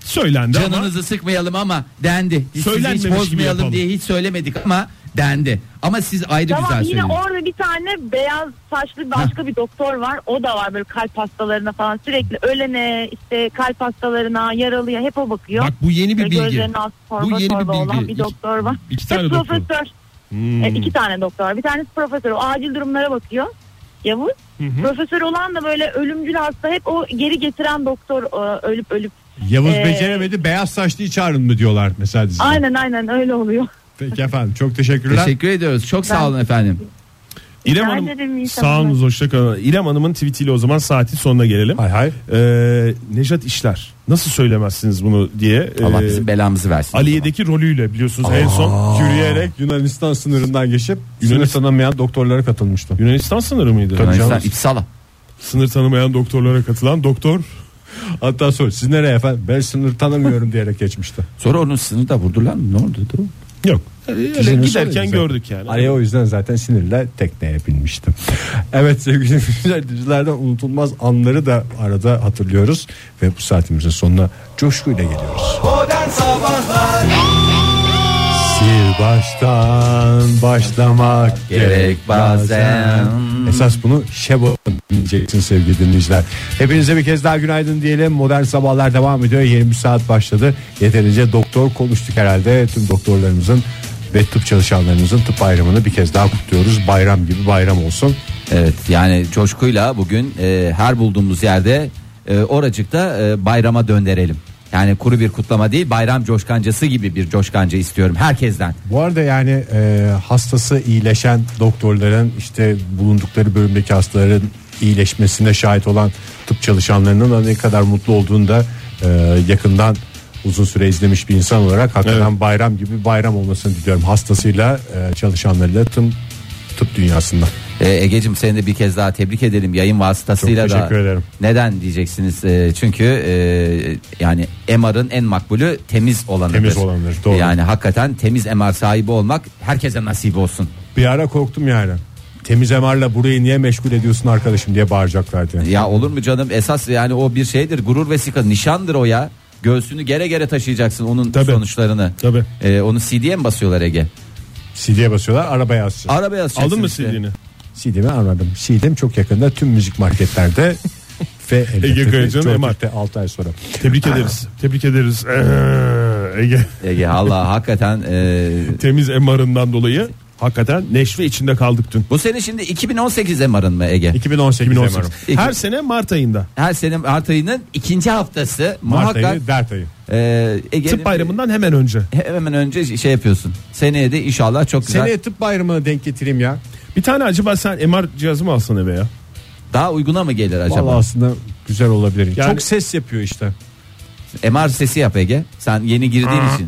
Söylendi ama.
Canınızı sıkmayalım ama dendi. Biz sizi
Söylenmemiş
hiç
gibi yapalım.
bozmayalım diye hiç söylemedik ama dendi. Ama siz ayrı
tamam
güzel
yine
söylediniz.
orada bir tane beyaz saçlı başka bir doktor var. O da var böyle kalp hastalarına falan sürekli ölene işte kalp hastalarına yaralıya hep o bakıyor.
Bak bu yeni bir
Ee,
bilgi.
Gözlerinin altı torba
Bu yeni bir
torba olan
bilgi.
bir
İki-
doktor var.
İki tane
Hep
doktor.
profesör.
Hmm.
E, iki tane doktor. Bir tanesi profesör. O acil durumlara bakıyor. Yavuz. Profesör olan da böyle ölümcül hasta hep o geri getiren doktor e, ölüp ölüp.
Yavuz
Ee,
beceremedi beyaz saçlıyı çağırın mı diyorlar mesela dizide.
Aynen aynen öyle oluyor.
Peki efendim çok teşekkürler.
Teşekkür ediyoruz. Çok
Ben-
sağ olun efendim.
İrem
Rica ederim,
Hanım
iyi
sağ olunuz hoşça kalın. İrem Hanım'ın tweetiyle o zaman saatin sonuna gelelim.
Hay hay.
Ee, Nejat İşler nasıl söylemezsiniz bunu diye.
Allah
ee,
bizim belamızı versin.
Aliye'deki rolüyle biliyorsunuz en son yürüyerek
Yunanistan sınırından geçip sınır
Yunanistan-
tanımayan doktorlara katılmıştı.
Yunanistan sınırı mıydı?
Yunanistan
Yalnız
İpsala.
Sınır tanımayan doktorlara katılan doktor
Hatta sonra siz nereye efendim ben sınır tanımıyorum diyerek geçmişti.
Sonra onun sınırı da vurdular mı? Ne oldu? Dur.
yok. Öyle
Sizin
giderken
sorunuz
gördük yani.
Araya o yüzden zaten sinirle tekneye binmiştim. evet sevgili dinleyiciler dizilerden unutulmaz anları da arada hatırlıyoruz. Ve bu saatimizin sonuna coşkuyla geliyoruz. Sil baştan başlamak
Gerek bazen.
Esas bunu Şebo diyeceksin sevgili dinleyiciler. Hepinize bir kez daha günaydın diyelim. Modern sabahlar devam ediyor. Yeni bir saat başladı. Yeterince doktor konuştuk herhalde. Tüm doktorlarımızın ve tıp çalışanlarımızın tıp bayramını bir kez daha kutluyoruz. Bayram gibi bayram olsun.
Evet yani coşkuyla bugün e, her bulduğumuz yerde e, oracıkta e, bayrama döndürelim. Yani kuru bir kutlama değil bayram coşkancası gibi bir coşkanca istiyorum herkesten.
Bu arada yani e, hastası iyileşen doktorların işte bulundukları bölümdeki hastaların iyileşmesine şahit olan tıp çalışanlarının da ne kadar mutlu olduğunu da e, yakından uzun süre izlemiş bir insan olarak hakikaten bayram gibi bayram olmasını diliyorum hastasıyla e, çalışanlarıyla tüm tıp dünyasında.
E, Ee, Ege'cim seni de bir kez daha tebrik edelim yayın vasıtasıyla
Çok
da.
teşekkür ederim.
Neden diyeceksiniz? Ee, çünkü e, yani MR'ın en makbulü temiz olanıdır.
Temiz olanıdır, doğru.
Yani hakikaten temiz MR sahibi olmak herkese nasip olsun.
Bir ara korktum yani. Temiz emarla burayı niye meşgul ediyorsun arkadaşım diye bağıracaklar diye.
Ya olur mu canım? Esas yani o bir şeydir. Gurur vesika nişandır o ya. Göğsünü gere gere taşıyacaksın onun
Tabii.
sonuçlarını.
Tabii.
Ee, onu CD'ye mi basıyorlar Ege?
CD'ye basıyorlar arabaya asacağız.
Arabaya yazacaksın
Aldın mı
işte.
CD'ni?
CD'mi almadım. CD'm çok yakında tüm müzik marketlerde ve elbette
Ege
ki
Kayacan'ın
Joy
MR.
Türk'te altı ay sonra.
Tebrik ederiz. Tebrik ederiz. Ee, Ege
Ege Allah hakikaten e,
temiz MR'ından dolayı hakikaten neşve içinde kaldık dün.
bu sene şimdi 2018 MR'ın mı Ege?
2018,
2018.
MR.
Her sene Mart ayında.
Her sene Mart ayının ikinci haftası
Mart
muhakkak
ayı, dert ayı.
e, Ege'nin
Tıp bayramından hemen önce.
hemen önce şey yapıyorsun. Seneye de inşallah çok güzel.
Seneye tıp bayramına denk getireyim ya.
Bir tane acaba sen MR cihazı mı alsan eve ya?
Daha uyguna mı gelir acaba?
Vallahi aslında güzel olabilir.
Yani-
Çok ses yapıyor işte.
MR sesi yap Ege. Sen yeni girdiğin için.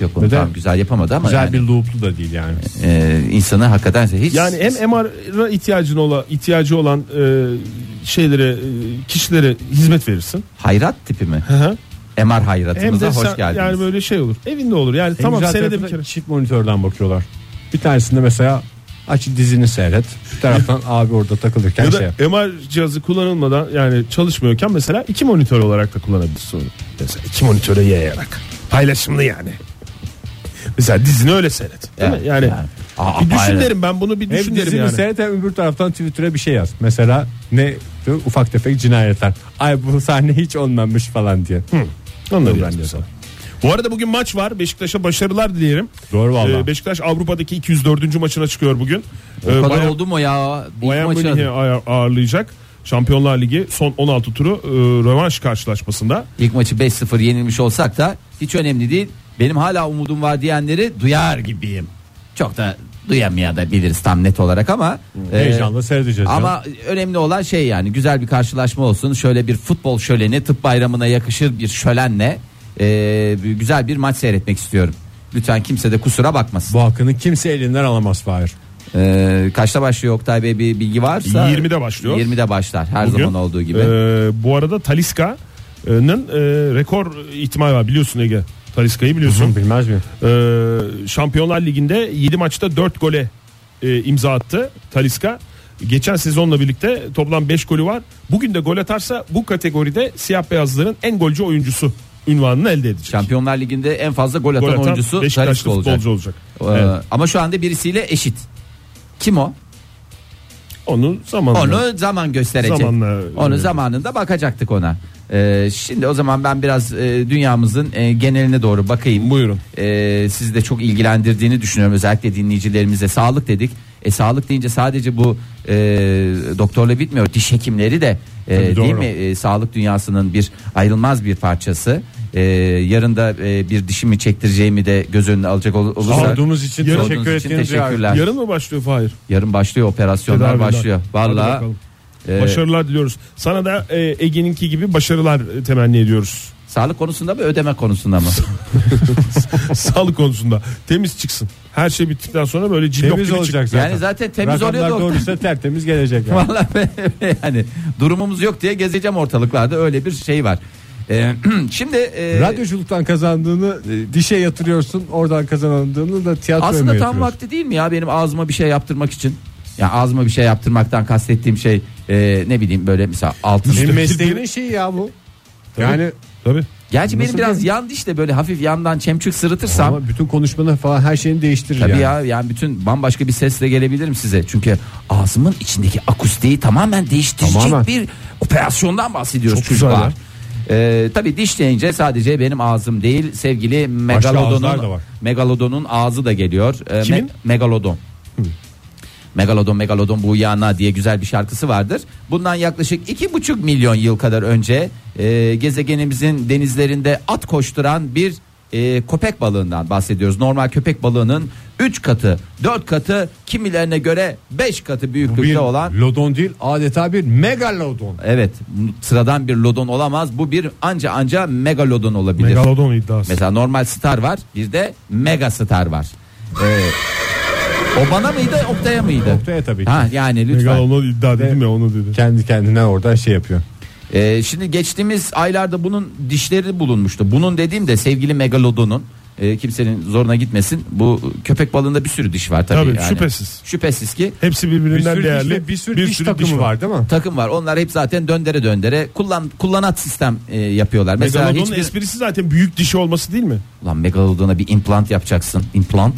Yok onu
Neden?
tamam güzel yapamadı ama
Güzel
yani,
bir looplu da değil yani.
e, insanı hakikaten hiç
Yani hem MR'a ihtiyacın ola, ihtiyacı olan e, şeylere, e, kişilere hizmet verirsin.
hayrat tipi mi?
Hı hı.
MR
hem
hayratımıza
de
hoş
sen-
geldiniz.
yani böyle şey olur. Evinde olur. Yani
En
tamam
güzel
senede
tarafı
bir
da
kere.
Çift monitörden bakıyorlar. Bir tanesinde mesela aç dizini seyret. Bir taraftan abi orada takılırken
Ya
şey
da
yap.
MR cihazı kullanılmadan yani çalışmıyorken mesela iki monitör olarak da kullanabilirsin onu. Mesela iki monitöre yayarak. Paylaşımlı yani. Mesela dizini öyle seyret. Değil
Evet,
mi? Yani,
yani. Aa,
bir düşün
aynen.
derim ben bunu bir
Hem
düşün derim
dizini
yani.
seyret hem öbür taraftan Twitter'a bir şey yaz. Mesela ne diyor? ufak tefek cinayetler. Ay bu sahne hiç olmamış falan diye.
Anladım
Yoldan
ben de
diyorsun.
Bu arada bugün maç var. Beşiktaş'a başarılar dileyelim.
Doğru valla.
Ee, Beşiktaş Avrupa'daki 204. maçına çıkıyor bugün.
o
Ee,
kadar
Bayern-
oldu mu ya? İlk
Bayern
maçı-
Münih'i ağır- ağırlayacak. Şampiyonlar Ligi son 16 turu e, rövanş karşılaşmasında.
İlk maçı 5-0 yenilmiş olsak da hiç önemli değil. Benim hala umudum var diyenleri duyar gibiyim. Çok da duyamayabiliriz tam net olarak ama e,
Ee, Heyecanla seyredeceğiz. canım.
ama önemli olan şey yani güzel bir karşılaşma olsun. Şöyle bir futbol şöleni tıp bayramına yakışır bir şölenle e, güzel bir maç seyretmek istiyorum. Lütfen kimse de kusura bakmasın.
Bu hakkını kimse elinden alamaz Fahir.
E, kaçta başlıyor Oktay Bey bir bilgi varsa?
20'de başlıyor.
20'de başlar her
Bugün,
zaman olduğu gibi.
e, bu arada Taliska'nın e, rekor ihtimali var biliyorsun Ege. Taliska'yı biliyorsun.
Bilmez miyim?
E, Şampiyonlar Ligi'nde 7 maçta 4 gole e, imza attı Taliska. Geçen sezonla birlikte toplam 5 golü var. Bugün de gol atarsa bu kategoride siyah beyazların en golcü oyuncusu unvanını elde edecek.
Şampiyonlar Ligi'nde en fazla gol atan,
gol atan
oyuncusu
Beşiktaşlı
Talisca olacak.
futbolcu olacak.
Ee,
Evet.
Ama şu anda birisiyle eşit. Kim o?
Onu zamanla.
Onu zaman gösterecek.
Zamanla-
Onu zamanında bakacaktık ona. Ee, şimdi o zaman ben biraz e, dünyamızın e, geneline doğru bakayım.
Buyurun.
Ee, sizi de çok ilgilendirdiğini düşünüyorum özellikle dinleyicilerimize sağlık dedik. E, sağlık deyince sadece bu e, doktorla bitmiyor. Diş hekimleri de e,
Tabii,
değil
doğru.
mi E, sağlık dünyasının bir ayrılmaz bir parçası. E, yarın da e, bir dişimi çektireceğimi de göz önünde alacak ol- olursa
Sorduğumuz için
Sorduğunuz
teşekkür
için
ettiğiniz
teşekkürler.
Yarın mı başlıyor Fahir?
Yarın başlıyor operasyonlar
Tedaviler.
başlıyor.
Hadi
Vallahi
bakalım.
e,
başarılar diliyoruz. Sana da e, Ege'ninki gibi başarılar e, temenni ediyoruz.
sağlık konusunda mı ödeme konusunda mı?
Sağlık konusunda temiz çıksın. Her şey bittikten sonra böyle cillop
Temiz
gibi
olacak
olacak.
zaten.
Yani zaten temiz
Rakamlar
oluyor doktor.
doğruysa tertemiz gelecek. Yani.
Vallahi ben- yani durumumuz yok diye gezeceğim ortalıklarda öyle bir şey var. E, şimdi e,
Radyoculuktan kazandığını e, dişe yatırıyorsun. Oradan kazandığını da tiyatroya mı
aslında tam
yatırıyorsun?
vakti değil mi ya benim ağzıma bir şey yaptırmak için? Ya ağzıma bir şey yaptırmaktan kastettiğim şey e, ne bileyim böyle mesela altın.
Benim
İşte
mesleğimin
bir-
şeyi ya bu. Yani
Tabii.
Gerçi benim
Nasıl
biraz yan dişle böyle hafif yandan çemçük sırıtırsam
ama bütün konuşmanı falan her şeyini değiştirir
Tabii
yani.
ya yani bütün bambaşka bir sesle gelebilirim size. Çünkü ağzımın içindeki akustiği tamamen değiştirecek
Tamamen.
bir operasyondan bahsediyoruz
Çok güzel
çocuklar.
ya.
Ee, tabii diş deyince sadece benim ağzım değil sevgili
ağızlar da
Megalodon'un
var.
Megalodon'un ağzı da geliyor. Ee,
Kimin?
Megalodon. Megalodon Megalodon bu yana diye güzel bir şarkısı vardır. Bundan yaklaşık iki buçuk milyon yıl kadar önce e, gezegenimizin denizlerinde at koşturan bir e, köpek balığından bahsediyoruz. Normal köpek balığının 3 katı, 4 katı, kimilerine göre 5 katı
Bir
büyüklükte olan
lodon değil adeta bir megalodon.
evet sıradan bir lodon olamaz. Bu bir anca anca megalodon olabilir.
Megalodon iddiası.
Mesela normal star var, bir de mega star var. O bana mıydı Oktay'a mıydı?
Noktaya tabii ki.
Ha yani lütfen.
Megalon'u iddia dedim ya onu dedi.
Kendi kendine oradan şey yapıyor.
Ee, şimdi geçtiğimiz aylarda bunun dişleri bulunmuştu. Bunun dediğim de sevgili Megalodon'un e, kimsenin zoruna gitmesin. Bu köpek balığında bir sürü diş var tabii.
Tabii,
yani.
şüphesiz.
Şüphesiz ki
Hepsi birbirinden
dişle-
değerli.
bir sürü diş takımı var. değil mi?
takım var. Onlar hep zaten döndere döndere kullan kullanat sistem e, yapıyorlar. Mesela
Megalodon'un
e-
hiçbir
esprisi zaten büyük dişi olması değil mi?
Lan Megalodon'a bir implant yapacaksın. Implant.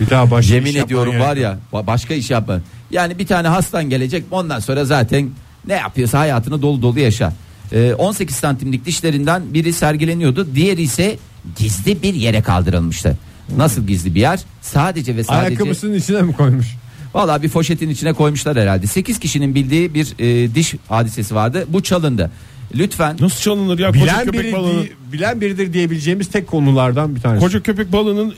Bir daha başka iş
Yemin
yapman
ediyorum
gerek.
var ya ba- başka iş yapma. Yani bir tane hastan gelecek ondan sonra zaten ne yapıyorsa hayatını dolu dolu yaşa. Ee, 18 santimlik dişlerinden biri sergileniyordu. Diğeri ise gizli bir yere kaldırılmıştı. Nasıl gizli bir yer? Sadece ve sadece...
Ayakkabısının içine mi koymuş?
Valla bir foşetin içine koymuşlar herhalde. 8 kişinin bildiği bir e, diş hadisesi vardı. Bu çalındı. Lütfen
Nasıl çalınır ya koca
Bilen,
köpek
biri,
balığının?
di- bilen biridir diyebileceğimiz tek konulardan bir tanesi.
Koca köpek balığının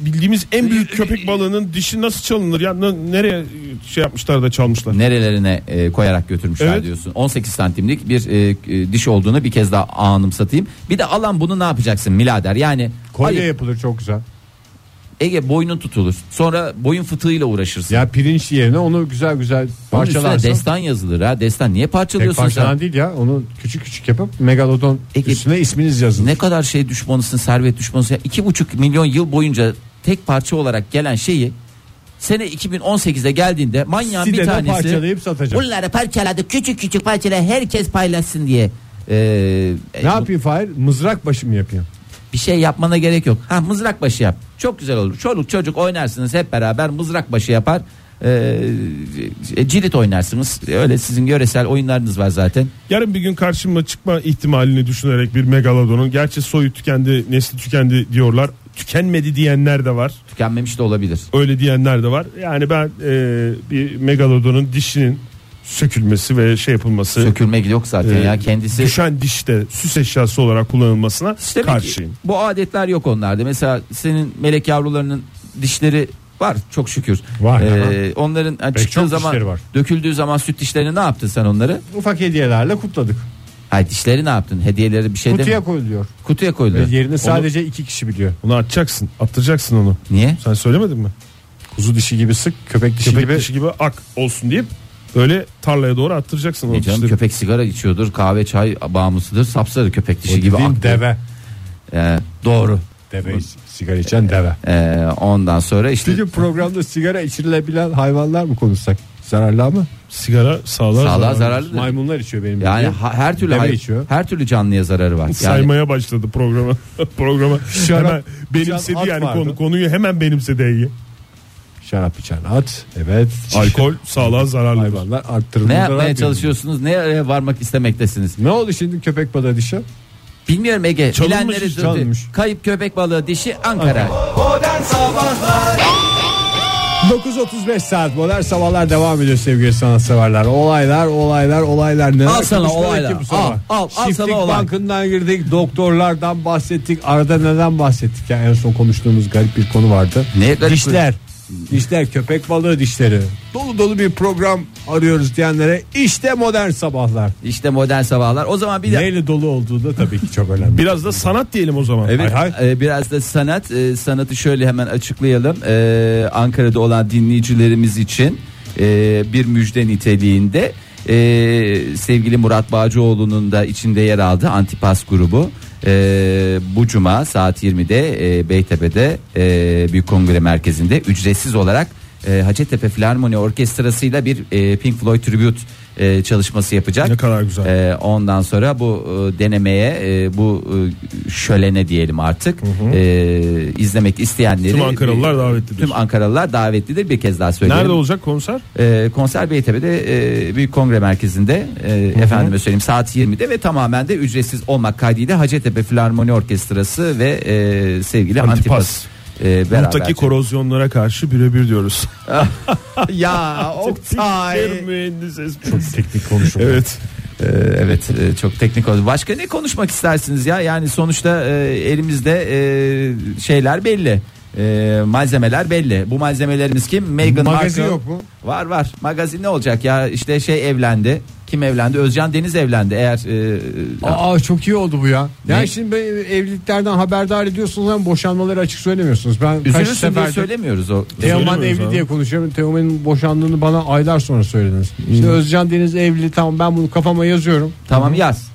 bildiğimiz en büyük
Ee,
köpek balığının dişi nasıl çalınır ya? N- Nereye şey yapmışlar da çalmışlar?
nerelerine e, koyarak götürmüşler
Evet.
diyorsun. 18 santimlik bir e, e, diş olduğunu bir kez daha anımsatayım. Bir de alan bunu ne yapacaksın milader? Yani
Kolye
hayır,
yapılır çok güzel.
Ege boynun tutulur. Sonra boyun fıtığıyla uğraşırsın.
Ya pirinç yerine onu güzel güzel
Onun üstüne
parçalarsın.
destan yazılır ha. Destan niye
Tek
parçalıyorsun sen?
parçalan değil ya. Onu küçük küçük yapıp megalodon
Peki.
üstüne isminiz yazın.
Ne kadar şey düşmanısın, servet düşmanısın. Ya iki buçuk milyon yıl boyunca tek parça olarak gelen şeyi sene 2018'de geldiğinde manyağın bir
Sitede
tanesi
parçalayıp satacak.
bunları parçaladı küçük küçük parçala herkes paylaşsın diye Ee,
Ne yapayım Fahir? Mızrak başı mı yapayım?
Bir şey yapmana gerek yok. Ha mızrak başı yap. Çok güzel olur. Çoluk çocuk oynarsınız hep beraber mızrak başı yapar. Ee, e, cirit oynarsınız. Öyle sizin yöresel oyunlarınız var zaten.
Yarın bir gün karşıma çıkma ihtimalini düşünerek bir megalodonun gerçi soyu tükendi, nesli tükendi diyorlar. Tükenmedi diyenler de var.
Tükenmemiş de olabilir.
Öyle diyenler de var. Yani ben e, bir megalodonun dişinin sökülmesi ve şey yapılması
Sökülme yok zaten
e,
Ee,
ya kendisi.
düşen dişte süs eşyası olarak kullanılmasına
İşte demek ki
karşıyım.
bu adetler yok onlarda. Mesela senin melek yavrularının dişleri var çok şükür. Ee,
Var,
onların ha,
çok
çıktığı zaman
dişleri var.
döküldüğü zaman süt dişlerini ne yaptın sen onları?
Ufak hediyelerle kutladık.
Hayır dişleri ne yaptın? Hediyeleri bir şey demiyor.
Kutuya koyuluyor.
Kutuya
Ve
koydu.
yerini sadece iki kişi biliyor.
Onu atacaksın, attıracaksın onu.
Niye?
Sen söylemedin mi?
Kuzu dişi gibi sık, köpek dişi
Köpek
gibi.
dişi gibi ak olsun deyip böyle tarlaya doğru attıracaksın onu.
E canım,
dişleri.
köpek sigara içiyordur, kahve çay bağımlısıdır, sapsarı köpek dişi gibi.
Dediğin
aklı.
deve.
Ee, doğru.
şey Deve sigara içen deve.
Ee, ondan sonra işte
Bugün programda sigara içirilebilen hayvanlar mı konuşsak? Zararlı mı?
Sigara sağlar.
sağlığa
zararlı.
zararlı.
Maymunlar içiyor benim.
Yani
bildiğim.
ha- her türlü
Deve
hay-
içiyor.
her türlü canlıya zararı var. Yani
Saymaya başladı programa. programa
Şarap
hemen benimsedi
içen at
yani
vardı.
konu, konuyu hemen benimsedi Ege.
Şarap içen at. Evet.
Alkol sağlığa zararlı.
Hayvanlar arttırılır.
ne yapmaya çalışıyorsunuz? Nereye varmak istemektesiniz?
Ne oldu şimdi köpek balığı dişi?
Bilmiyorum Ege.
Çalınmış,
bilenleri dövdü.
çalınmış.
Kayıp köpek balığı dişi Ankara.
9.35 saat modern sabahlar devam ediyor sevgili sanatseverler. Olaylar olaylar olaylar. Neler
Al sana
konuşmadık
olaylar.
ki bu sabah?
Al, al, al
Çiftlik
sana olay.
bankından girdik doktorlardan bahsettik. Arada neden bahsettik ya en son konuştuğumuz garip bir konu vardı.
Ne garip
Dişler. Dişler köpek balığı dişleri. Dolu dolu bir program arıyoruz diyenlere işte modern sabahlar.
İşte modern sabahlar. O zaman bir de
Neyle dolu olduğu da tabii ki çok önemli.
Biraz da sanat diyelim o zaman.
Evet,
Hay
e, biraz da sanat. E, sanatı şöyle hemen açıklayalım. E, Ankara'da olan dinleyicilerimiz için e, bir müjde niteliğinde e, sevgili Murat Bağcıoğlu'nun da içinde yer aldığı Antipas grubu e, bu cuma saat 20'de e, Beytepe'de e, Büyük Kongre Merkezi'nde ücretsiz olarak e, Hacettepe Filarmoni Orkestrası'yla bir e, Pink Floyd Tribute e, çalışması yapacak.
Ne kadar güzel.
Ee, ondan sonra bu e, denemeye e, bu e, şölene diyelim artık e, izlemek isteyenleri
Tüm Ankaralılar davetlidir.
Tüm Ankaralılar davetlidir bir kez daha söyleyeyim.
Nerede olacak konser?
Ee, konser Beytepe'de e, Büyük Kongre Merkezi'nde e, efendime söyleyeyim saat 20'de ve tamamen de ücretsiz olmak kaydıyla Hacettepe Filarmoni Orkestrası ve e, sevgili
Antipas.
Antipas, e, beraber.
Muhtaki korozyonlara karşı birebir diyoruz.
ya Oktay.
Bir mühendis espri.
teknik konuşma.
evet.
Ee, evet e, çok teknik oldu. Başka ne konuşmak istersiniz ya? Yani sonuçta e, elimizde e, şeyler belli. e, malzemeler belli. Bu malzemelerimiz kim? Meghan
Magazin
Markle.
yok mu?
Var var. Magazin ne olacak ya? İşte şey evlendi. Kim evlendi? Özcan Deniz evlendi. Eğer e,
Aa çok iyi oldu bu ya.
Ne?
Yani şimdi ben evliliklerden haberdar ediyorsunuz ama boşanmaları açık söylemiyorsunuz. Ben kaç E,
üzülürsün diye
seferde
söylemiyoruz o.
Teoman
Söylemiyoruz
evli
abi.
diye konuşuyorum. Teoman'ın boşandığını bana aylar sonra söylediniz.
Hmm.
İşte Özcan Deniz evli tamam ben bunu kafama yazıyorum.
Tamam yaz.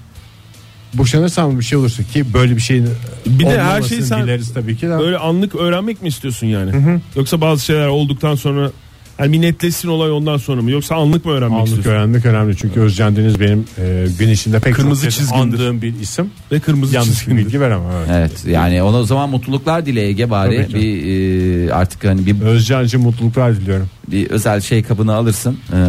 Boşanırsam bir şey olursa ki böyle bir şeyin
Bir de her
olmamasını
şeyi sen-
dileriz tabii ki. de.
Böyle anlık öğrenmek mi istiyorsun yani? Yoksa bazı şeyler olduktan sonra yani bir netleşsin olay ondan sonra mı? Yoksa anlık mı öğrenmek
Anlık
istiyorsun?
öğrenmek önemli çünkü Özcan Deniz benim e, gün içinde pek
Kırmızı
çok kez
çizgindir.
andığım bir isim.
Ve kırmızı
Yanlış bir
çizgindir.
bilgi veremem. Evet.
Evet yani ona o zaman mutluluklar dile Ege bari
Tabii ki.
bir e, artık hani bir,
Özcan'cığım mutluluklar diliyorum.
bir özel şey kabını alırsın. E,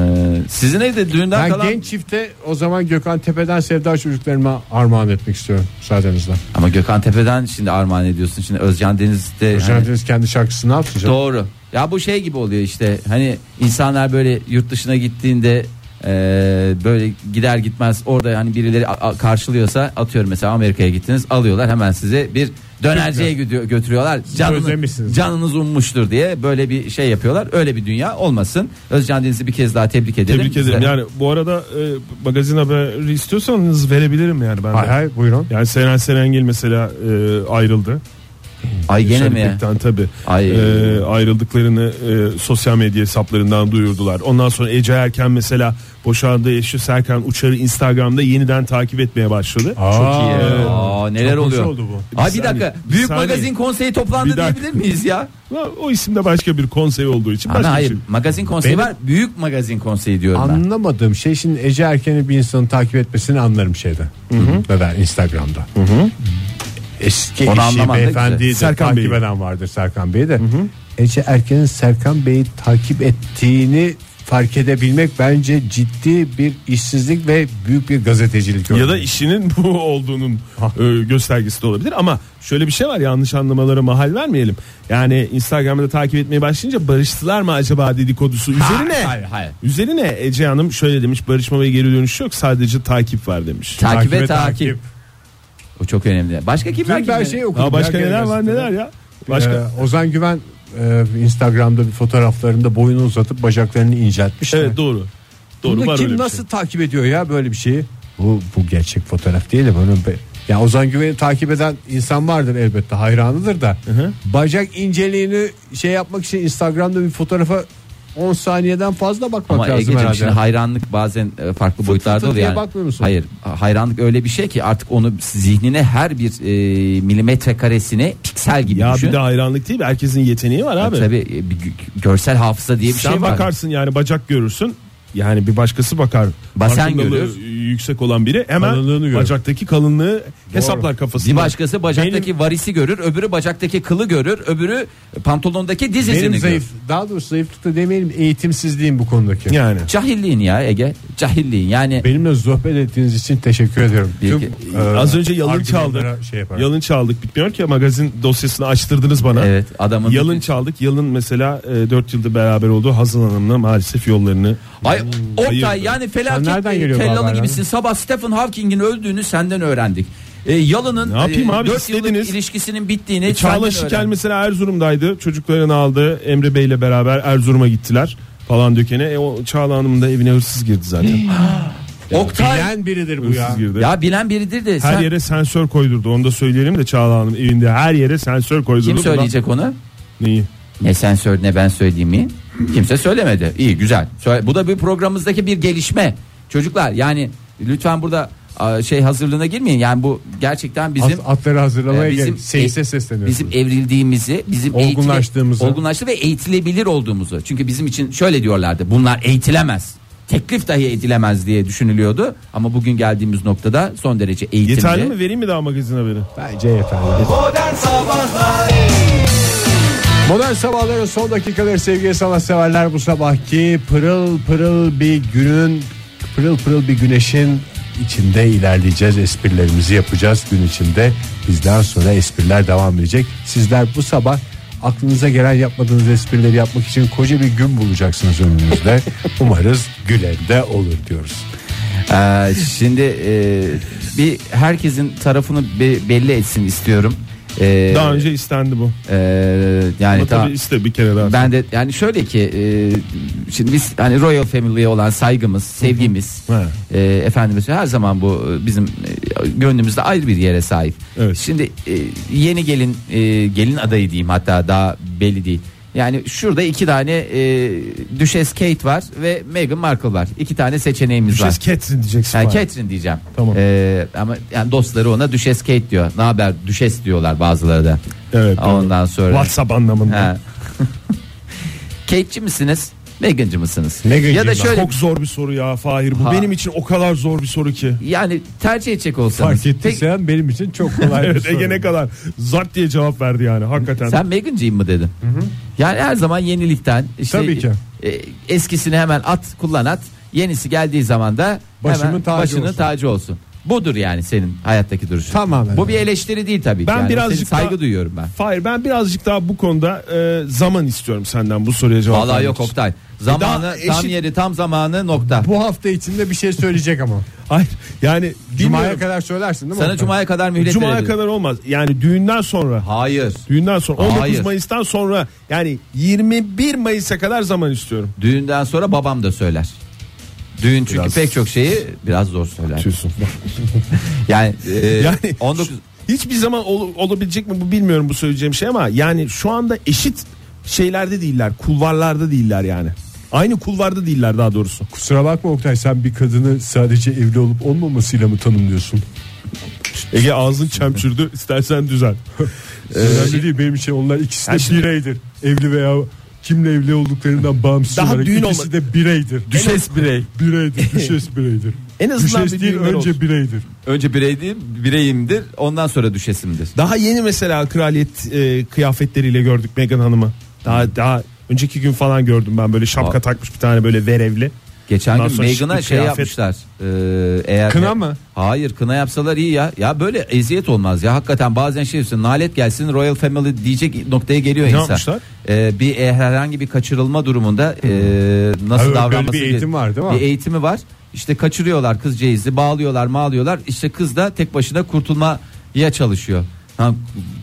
sizin evde düğünden
Ben
kalan
genç çifte o zaman Gökhan Tepe'den Sevda çocuklarıma armağan etmek istiyorum müsaadenizle.
ama Gökhan Tepe'den şimdi armağan ediyorsun. Şimdi Özcan Deniz de
Özcan
hani-
Deniz kendi şarkısını atacak.
doğru. Ya bu şey gibi oluyor işte hani insanlar böyle yurt dışına gittiğinde e, böyle gider gitmez orada hani birileri a- a- karşılıyorsa atıyorum mesela Amerika'ya gittiniz alıyorlar hemen sizi bir dönerciye gidiyor, götürüyorlar.
özlemişsiniz.
Canını, canınız ummuştur diye böyle bir şey yapıyorlar. Öyle bir dünya olmasın. Özcan Deniz'i bir kez daha tebrik edelim.
Tebrik ederim.
Bize-
Yani bu arada e, magazin haberi istiyorsanız verebilirim yani ben. de.
Hay hay buyurun.
Yani Seren Serengil mesela e, ayrıldı.
Ay gene mi? ya?
Şenlikten tabii.
Ay.
E, ayrıldıklarını e, sosyal medya hesaplarından duyurdular. Ondan sonra Ece Erken mesela boşandığı eşi Serkan Uçar'ı Instagram'da yeniden takip etmeye başladı. E,
Çok iyi.
evet.
Aa, neler
Çok hoş
oluyor?
oldu bu.
Ay bir
saniye,
dakika.
bir
Büyük
saniye.
magazin konseyi toplandı
Bir dakika.
diyebilir miyiz ya?
Ama O isimde başka bir konsey olduğu için başka
Ama hayır.
bir şey.
Magazin konseyi
Benim-
var. Büyük magazin konseyi diyorum ben.
Anlamadığım şey şimdi Ece Erken'i bir insanın takip etmesini anlarım şeyde. Neden? Instagram'da. Eski
Onu
eşi
anlaman da
beyefendiyi de
güzel. Serkan
takip
Bey'i.
eden vardır Serkan Bey'i de. Ece Erken'in Serkan Bey'i takip ettiğini fark edebilmek bence ciddi bir işsizlik ve büyük bir gazetecilik.
Ya da
örneği.
işinin bu olduğunun e, göstergesi de olabilir ama şöyle bir şey var yanlış anlamalara mahal vermeyelim. Yani Instagram'da takip etmeye başlayınca barıştılar mı acaba dedikodusu üzerine.
hayır, hayır.
Üzerine Ece Hanım şöyle demiş barışma ve geri dönüş yok sadece takip var demiş.
Takibe takip.
Takibe takip.
O çok önemli. Başka kimler
Dün ben
kimler?
şey okudum.
Ha, başka
ya,
neler var
gazetede.
neler ya. Başka
Ee, Ozan Güven e, Instagram'da bir fotoğraflarında boyunu uzatıp bacaklarını
Ee,
inceltmiş.
evet doğru. Doğru
Bunu
var öyle
kim
bir şey.
nasıl takip ediyor ya böyle bir şeyi? Bu bu gerçek fotoğraf değil de bunun be- ya Ozan Güven'i takip eden insan vardır elbette hayranıdır da. Bacak inceliğini şey yapmak için Instagram'da bir fotoğrafa 10 saniyeden fazla bakmak
Ama
lazım
Ege'ciğim
herhalde.
şimdi hayranlık bazen e, farklı boyutlarda
fıt
oluyor.
diye
Yani.
bakmıyor musun?
Hayır hayranlık öyle bir şey ki artık onu zihnine her bir e, milimetre karesini piksel gibi
Ya
düşün.
bir de hayranlık değil herkesin yeteneği var abi.
Tabii e, bir gö- görsel hafıza diye bir
Sen
şey var.
bakarsın yani bacak görürsün. Yani bir başkası bakar.
Basen
Farkındalığı
görür.
Yüksek olan biri hemen
Kalınlığını görür.
bacaktaki kalınlığı hesaplar kafasında.
Bir başkası bacaktaki varisi görür, öbürü bacaktaki kılı görür, öbürü pantolondaki diz izini
Benim
görür.
zayıf daha doğrusu zayıflıkta demeyelim eğitimsizliğim bu konudaki.
yani
Cahilliğin ya Ege, cahilliğin. Yani
Benimle sohbet ettiğiniz için teşekkür ediyorum.
Bir-
Tüm, e,
az önce yalın
argümanlara
çaldık.
Şey yaparım.
yalın çaldık bitmiyor ki magazin dosyasını açtırdınız bana.
evet adamın
Yalın çaldık. Yalın mesela 4 yıldır beraber olduğu Hazal Hanım'la maalesef yollarını
Ay Oktay
hayırdır?
yani
Sen
felaket
nereden
bir
geliyor bu
tellalı
haberler?
gibisin. Sabah Stephen Hawking'in öldüğünü senden öğrendik. E, Yalın'ın
Ne yapayım abi,
4 yıllık
istediniz.
ilişkisinin bittiğini senden
E, Çağla
öğrendik.
Şikel mesela Erzurum'daydı. Çocuklarını aldı. Emre Bey'le beraber Erzurum'a gittiler falan dökene. E, o Çağla Hanım'ın da evine hırsız girdi zaten.
Oktay
Bilen biridir bu ya.
hırsız girdi.
ya bilen biridir de
Her
sen
yere sensör koydurdu. Onu da söyleyelim de Çağla Hanım evinde her yere sensör koydurdu.
kim
Bundan-
söyleyecek onu?
Neyi?
Ne sen söyle ne ben söyleyeyim mi? Kimse söylemedi. İyi güzel. Söyle- Bu da bir programımızdaki bir gelişme. Çocuklar yani lütfen burada a, şey hazırlığına girmeyin. Yani bu gerçekten bizim
At- atları hazırlamaya
Ee,
gelip
şey,
seyse
e-
sesleniyoruz.
Bizim evrildiğimizi, bizim
Olgunlaştığımızı.
eğitile- olgunlaştı ve eğitilebilir olduğumuzu. Çünkü bizim için şöyle diyorlardı. Bunlar eğitilemez. Teklif dahi edilemez diye düşünülüyordu. Ama bugün geldiğimiz noktada son derece eğitimli.
Yeterli mi? Vereyim mi daha magazin haberi?
Bence yeterli. Modern Sabahların son dakikaları sevgili sanatseverler bu sabahki pırıl pırıl bir günün pırıl pırıl bir güneşin içinde ilerleyeceğiz. Esprilerimizi yapacağız gün içinde. Bizden sonra espriler devam edecek. Sizler bu sabah aklınıza gelen yapmadığınız esprileri yapmak için koca bir gün bulacaksınız önünüzde. Umarız gülen de olur diyoruz.
Ee, şimdi e, bir herkesin tarafını be- belli etsin istiyorum. Ee,
Daha önce istendi bu.
e,
Ama
yani daha-
tabii iste bir kere daha.
ben de yani şöyle ki e, şimdi biz hani Royal Family'ye olan saygımız, sevgimiz
Hı.
e, efendimiz her zaman bu e, bizim e, gönlümüzde ayrı bir yere sahip.
Evet.
Şimdi e, yeni gelin e, gelin adayı diyeyim hatta daha belli değil. Yani şurada iki tane e, Düşes Kate var ve Meghan Markle var. İki tane seçeneğimiz var.
Düşes şey Catherine diyeceksin.
Yani
bari.
Catherine diyeceğim.
Tamam.
Ee, ama yani dostları ona Düşes Kate diyor. Ne haber Düşes diyorlar bazıları da.
Evet, doğru.
Ondan sonra.
WhatsApp anlamında.
He. Kate'ci misiniz? Meghan'cı mısınız?
Meghan'cıyım
ya da
ben.
şöyle
Çok zor bir soru ya Fahir. Bu
Ha.
benim için o kadar zor bir soru ki.
yani tercih edecek olsanız.
Fark ettiysen benim için çok kolay bir
Evet
soru.
Ege ne kadar zart diye cevap verdi yani hakikaten.
Sen Meghan'cıyım mı dedin? Yani her zaman yenilikten işte
Tabii ki.
e, eskisini hemen at, kullan at. Yenisi geldiği zaman da
Başımın
hemen
tacı
başının
olsun.
tacı olsun. Budur yani senin hayattaki duruşun.
Tamamen
Bu
öyle.
bir eleştiri değil tabii
Ben
ki. Yani
birazcık
senin saygı
daha-
duyuyorum ben.
Fahir ben birazcık daha bu konuda e, zaman istiyorum senden bu soruya cevap
Vallahi
vermek
yok
için.
Oktay. Zamanı
E, Daha eşit-
tam yeri tam zamanı nokta.
Bu hafta içinde bir şey söyleyecek ama.
Hayır yani
Cuma'ya
bilmiyorum.
kadar söylersin değil mi?
Sana
Oktay?
cumaya kadar mühlet
Cuma'ya
verebilirim.
kadar olmaz. Yani düğünden sonra.
Hayır.
Düğünden sonra 19
Hayır.
Mayıs'tan sonra yani 21 Mayıs'a kadar zaman istiyorum.
Düğünden sonra babam da söyler. Düğün çünkü
Biraz-
pek çok şeyi biraz zor söyler.
Tüysun.
Yani, e,
Yani
19
hiçbir zaman ol- olabilecek mi bu bilmiyorum bu söyleyeceğim şey ama yani şu anda eşit şeylerde değiller, kulvarlarda değiller yani. Aynı kulvarda değiller daha doğrusu.
Kusura bakma Oktay sen bir kadını sadece evli olup olmamasıyla mı tanımlıyorsun?
Ege ağzın çemçürdü. istersen Ee, düzel.
Önemli değil benim için onlar ikisi de
Ha, şimdi-
bireydir. Evli veya kimle evli olduklarından bağımsız
Daha
olarak
düğün
ikisi
olma-
de bireydir.
Düşes birey.
Bireydir, düşes bireydir.
En azından
düşes
bir
değil
düğünler
önce
olsun.
bireydir.
Önce bireydim, bireyimdir. Ondan sonra düşesimdir.
Daha yeni mesela kraliyet e, kıyafetleriyle gördük Meghan Hanım'ı. Daha daha önceki gün falan gördüm ben böyle şapka
Aa.
takmış bir tane böyle verevli.
Geçen
Ondan
gün
sonra
Meghan'a
şıklı
şey
kıyafet.
yapmışlar. Ee, eğer
Kına mı?
Hayır kına yapsalar iyi ya. Ya böyle eziyet olmaz ya. Hakikaten bazen şey diyorsun nalet gelsin Royal Family diyecek noktaya geliyor insan.
yapmışlar?
Ee, bir e, herhangi bir kaçırılma durumunda e, nasıl
Hmm. Hayır, böyle
davranması
bir
gerek-
eğitim var, değil mi?
Bir eğitimi var. İşte kaçırıyorlar kızcağızı bağlıyorlar mağlıyorlar. İşte kız da tek başına kurtulmaya çalışıyor. Ha,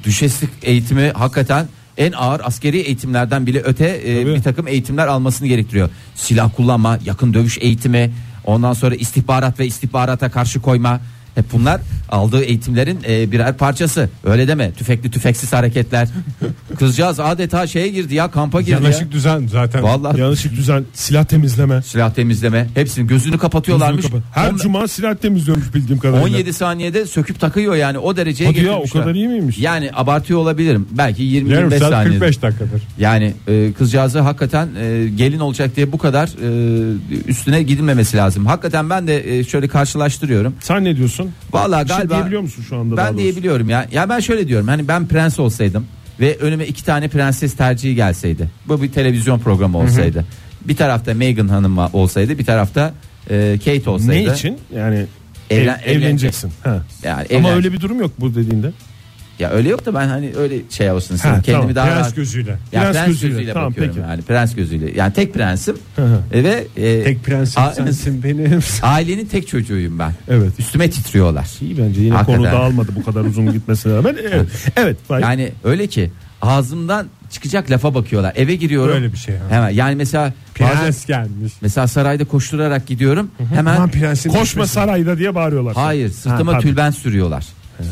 düşeslik eğitimi hakikaten en ağır askeri eğitimlerden bile öte e, bir takım eğitimler almasını gerektiriyor. Silah kullanma, yakın dövüş eğitimi, ondan sonra istihbarat ve istihbarata karşı koyma. Hep bunlar aldığı eğitimlerin e, birer parçası. Öyle deme. Tüfekli tüfeksiz hareketler. Kızcağız adeta şeye girdi ya kampa girdi. ya.
Yanaşık düzen zaten.
Vallahi
Yanlışlık düzen silah temizleme.
silah temizleme hepsini gözünü kapatıyorlarmış.
Gözünü kapat. Her
On-
cuma silah temizliyormuş bildiğim kadarıyla.
17 saniyede söküp takıyor yani o dereceye
Hadi ya,
getirmişler.
o kadar iyi miymiş?
Yani abartıyor olabilirim. Belki 20
Yarım
25
saat
saniyede.
45 dakikadır.
Yani e, kızcağızı hakikaten e, gelin olacak diye bu kadar e, üstüne gidilmemesi lazım. Hakikaten ben de e, şöyle karşılaştırıyorum.
Sen ne diyorsun?
Vallahi
Bir şey
galiba-
diyebiliyor musun şu anda? daha
Ben
doğrusu?
diyebiliyorum ya. Ya ben şöyle diyorum. Hani ben prens olsaydım ve önüme iki tane prenses tercihi gelseydi. Bu bir televizyon programı olsaydı. Bir tarafta Meghan Hanım olsaydı, bir tarafta e, Kate olsaydı.
Ne için? Yani
Evlen-
ev- evleneceksin. Ha.
Yani
Ama
evlen-
öyle bir durum yok bu dediğinde.
Ya öyle yok da ben hani öyle şey olsun istedim.
Ha,
Kendimi
tamam.
daha
Prens
rahat-
gözüyle.
Ya
Prens
prens,
gözüyle.
gözüyle,
Tamam,
bakıyorum
peki.
yani prens gözüyle. Yani tek prensim.
hı.
E ve e,
Tek prenses
a-
sensin benim.
Ailenin tek çocuğuyum ben.
Evet.
Üstüme titriyorlar.
İyi bence yine
Hakikaten.
konu dağılmadı bu kadar uzun gitmesine rağmen. Evet. evet Fahir.
Yani öyle ki ağzımdan çıkacak lafa bakıyorlar. Eve giriyorum.
Böyle bir şey ha.
Hemen yani mesela bazen-
Prens gelmiş.
mesela sarayda koşturarak gidiyorum. Hemen
Aman prensin
Koşma
düşmesi.
sarayda diye bağırıyorlar.
Hayır sırtıma
Ha, pardon.
tülben sürüyorlar.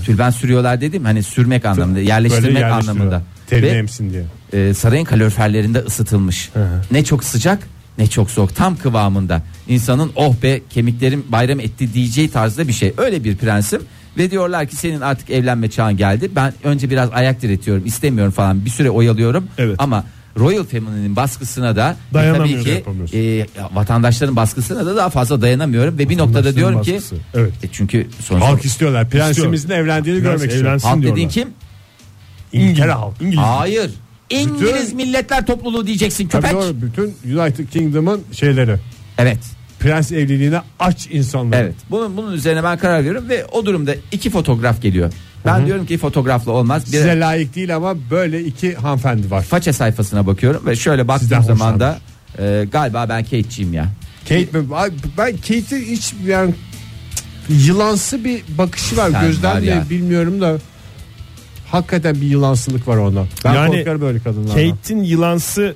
Tülben sürüyorlar dedim hani sürmek anlamında
Böyle
yerleştirmek
yerleştiriyor.
anlamında.
Terini
Ve-
emsin diye.
e, sarayın kaloriferlerinde ısıtılmış. Ne çok sıcak ne çok soğuk tam kıvamında. İnsanın oh be kemiklerim bayram etti diyeceği tarzda bir şey. Öyle bir prensim ve diyorlar ki senin artık evlenme çağın geldi. Ben önce biraz ayak diretiyorum istemiyorum falan bir süre oyalıyorum.
Evet.
Ama Royal Family'nin baskısına da e, tabii
Dayanamıyor,
ki
yapamıyorsun.
e, vatandaşların baskısına da daha fazla dayanamıyorum ve bir noktada diyorum
baskısı,
ki
evet.
e, çünkü sonuçta
Halk istiyorlar. Prensimizin
İstiyor.
evlendiğini
Prens
görmek istiyor.
evlensin
halk
diyorlar.
dediğin kim?
İngiltere halkı.
İngiliz.
Hayır. İngiliz
Bütün-
Milletler Topluluğu diyeceksin
Tabii
köpek.
doğru. Bütün United Kingdom'ın şeyleri.
Evet.
Prens evliliğine aç insanlar.
Evet. Bunun bunun üzerine ben karar veriyorum ve o durumda iki fotoğraf geliyor. Ben diyorum ki fotoğrafla olmaz. Bir
Size layık değil ama böyle iki hanımefendi var.
faça sayfasına bakıyorum ve şöyle
Sizden
baktığım zaman da e, galiba ben Kate'ciyim ya.
Kate mi? Ay, Ben Kate'i hiç yani cık, yılansı bir bakışı var
Sen
gözden
var
mi
ya.
bilmiyorum da Hakikaten bir yılansılık var onda. Ben
Yani
korkarım böyle kadınlardan.
Kate'in yılansı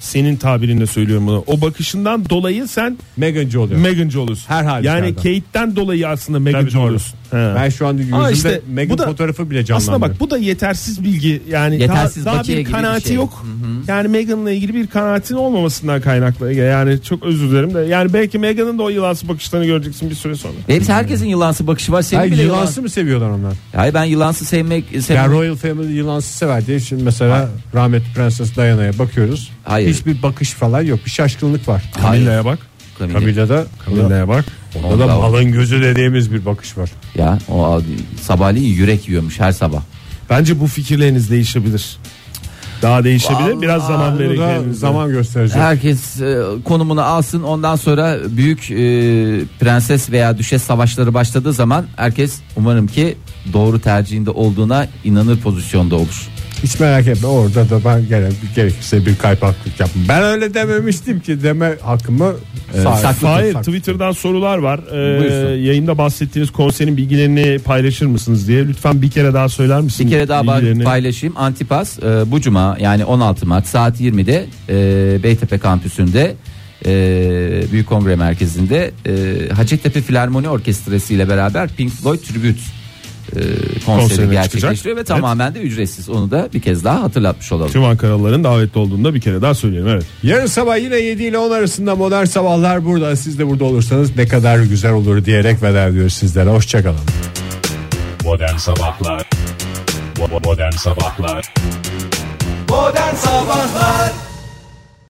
senin tabirinle söylüyorum bunu. O bakışından dolayı sen
Meghan'cı oluyor.
Meghan'cı olursun.
Her halükarda.
Yani Kate'den dolayı aslında
Tabii,
Meghan'cı
doğru.
olursun. He.
ben şu anda
Ama
yüzümde
işte
Meghan
bu da-
fotoğrafı bile canlandı.
Aslında bak bu da yetersiz bilgi. Yani
Yetersiz
daha, daha
bakiye
bir
gibi bir
kanaati
şey.
yok. Yani Meghan'la ilgili bir kanaatin olmamasından kaynaklı. Yani çok özür dilerim de. Yani belki Meghan'ın da o yılansı bakışlarını göreceksin bir süre sonra.
E, Hepsi herkesin yılansı bakışı var. Senin
Hayır,
bile
yılansı
yılan-
mı seviyorlar onlar?
Hayır ben yılansı sevmek sevmek.
Ya Royal Family yılansı sever diye şimdi mesela rahmetli Prenses Diana'ya bakıyoruz.
Hayır.
Hiçbir bakış falan yok. Bir şaşkınlık var.
Hayır.
Camilla'ya bak.
Camilla.
Camilla'da
Camilla'ya bak.
Onda da malın gözü dediğimiz bir bakış var.
Ya o abi, sabahleyin yürek yiyormuş her sabah.
Bence bu fikirleriniz değişebilir. Daha değişebilir. Biraz zaman verin
Bu da
kendinize.
zaman gösterecek.
Herkes e, konumunu alsın ondan sonra büyük e, prenses veya düşes savaşları başladığı zaman herkes umarım ki doğru tercihinde olduğuna inanır pozisyonda olur.
Hiç merak etme orada da ben gene gerekirse bir kaypaklık yaptım. Ben öyle dememiştim ki deme hakkımı sahip.
saklı tut,
Hayır Twitter'dan sorular var. Ee,
Buyursun.
yayında bahsettiğiniz konserin bilgilerini paylaşır mısınız diye. Lütfen bir kere daha söyler
Bir
misiniz?
kere daha
bilgilerini?
ba- paylaşayım. Antipas e, bu cuma yani 16 Mart saat 20'de e, Beytepe kampüsünde e, Büyük Kongre Merkezi'nde e, Hacettepe Filarmoni Orkestrası ile beraber Pink Floyd Tribute e, konseri
Konserine
gerçekleştiriyor
çıkacak.
ve
Evet.
tamamen de ücretsiz. Onu da bir kez daha hatırlatmış olalım.
Tüm Ankaralıların davetli olduğunda bir kere daha söyleyelim. Evet.
Yarın sabah yine 7 ile 10 arasında modern sabahlar burada. Siz de burada olursanız ne kadar güzel olur diyerek veda ediyoruz sizlere. Hoşçakalın.
Modern Sabahlar Bo- bo- Modern Sabahlar
Modern Sabahlar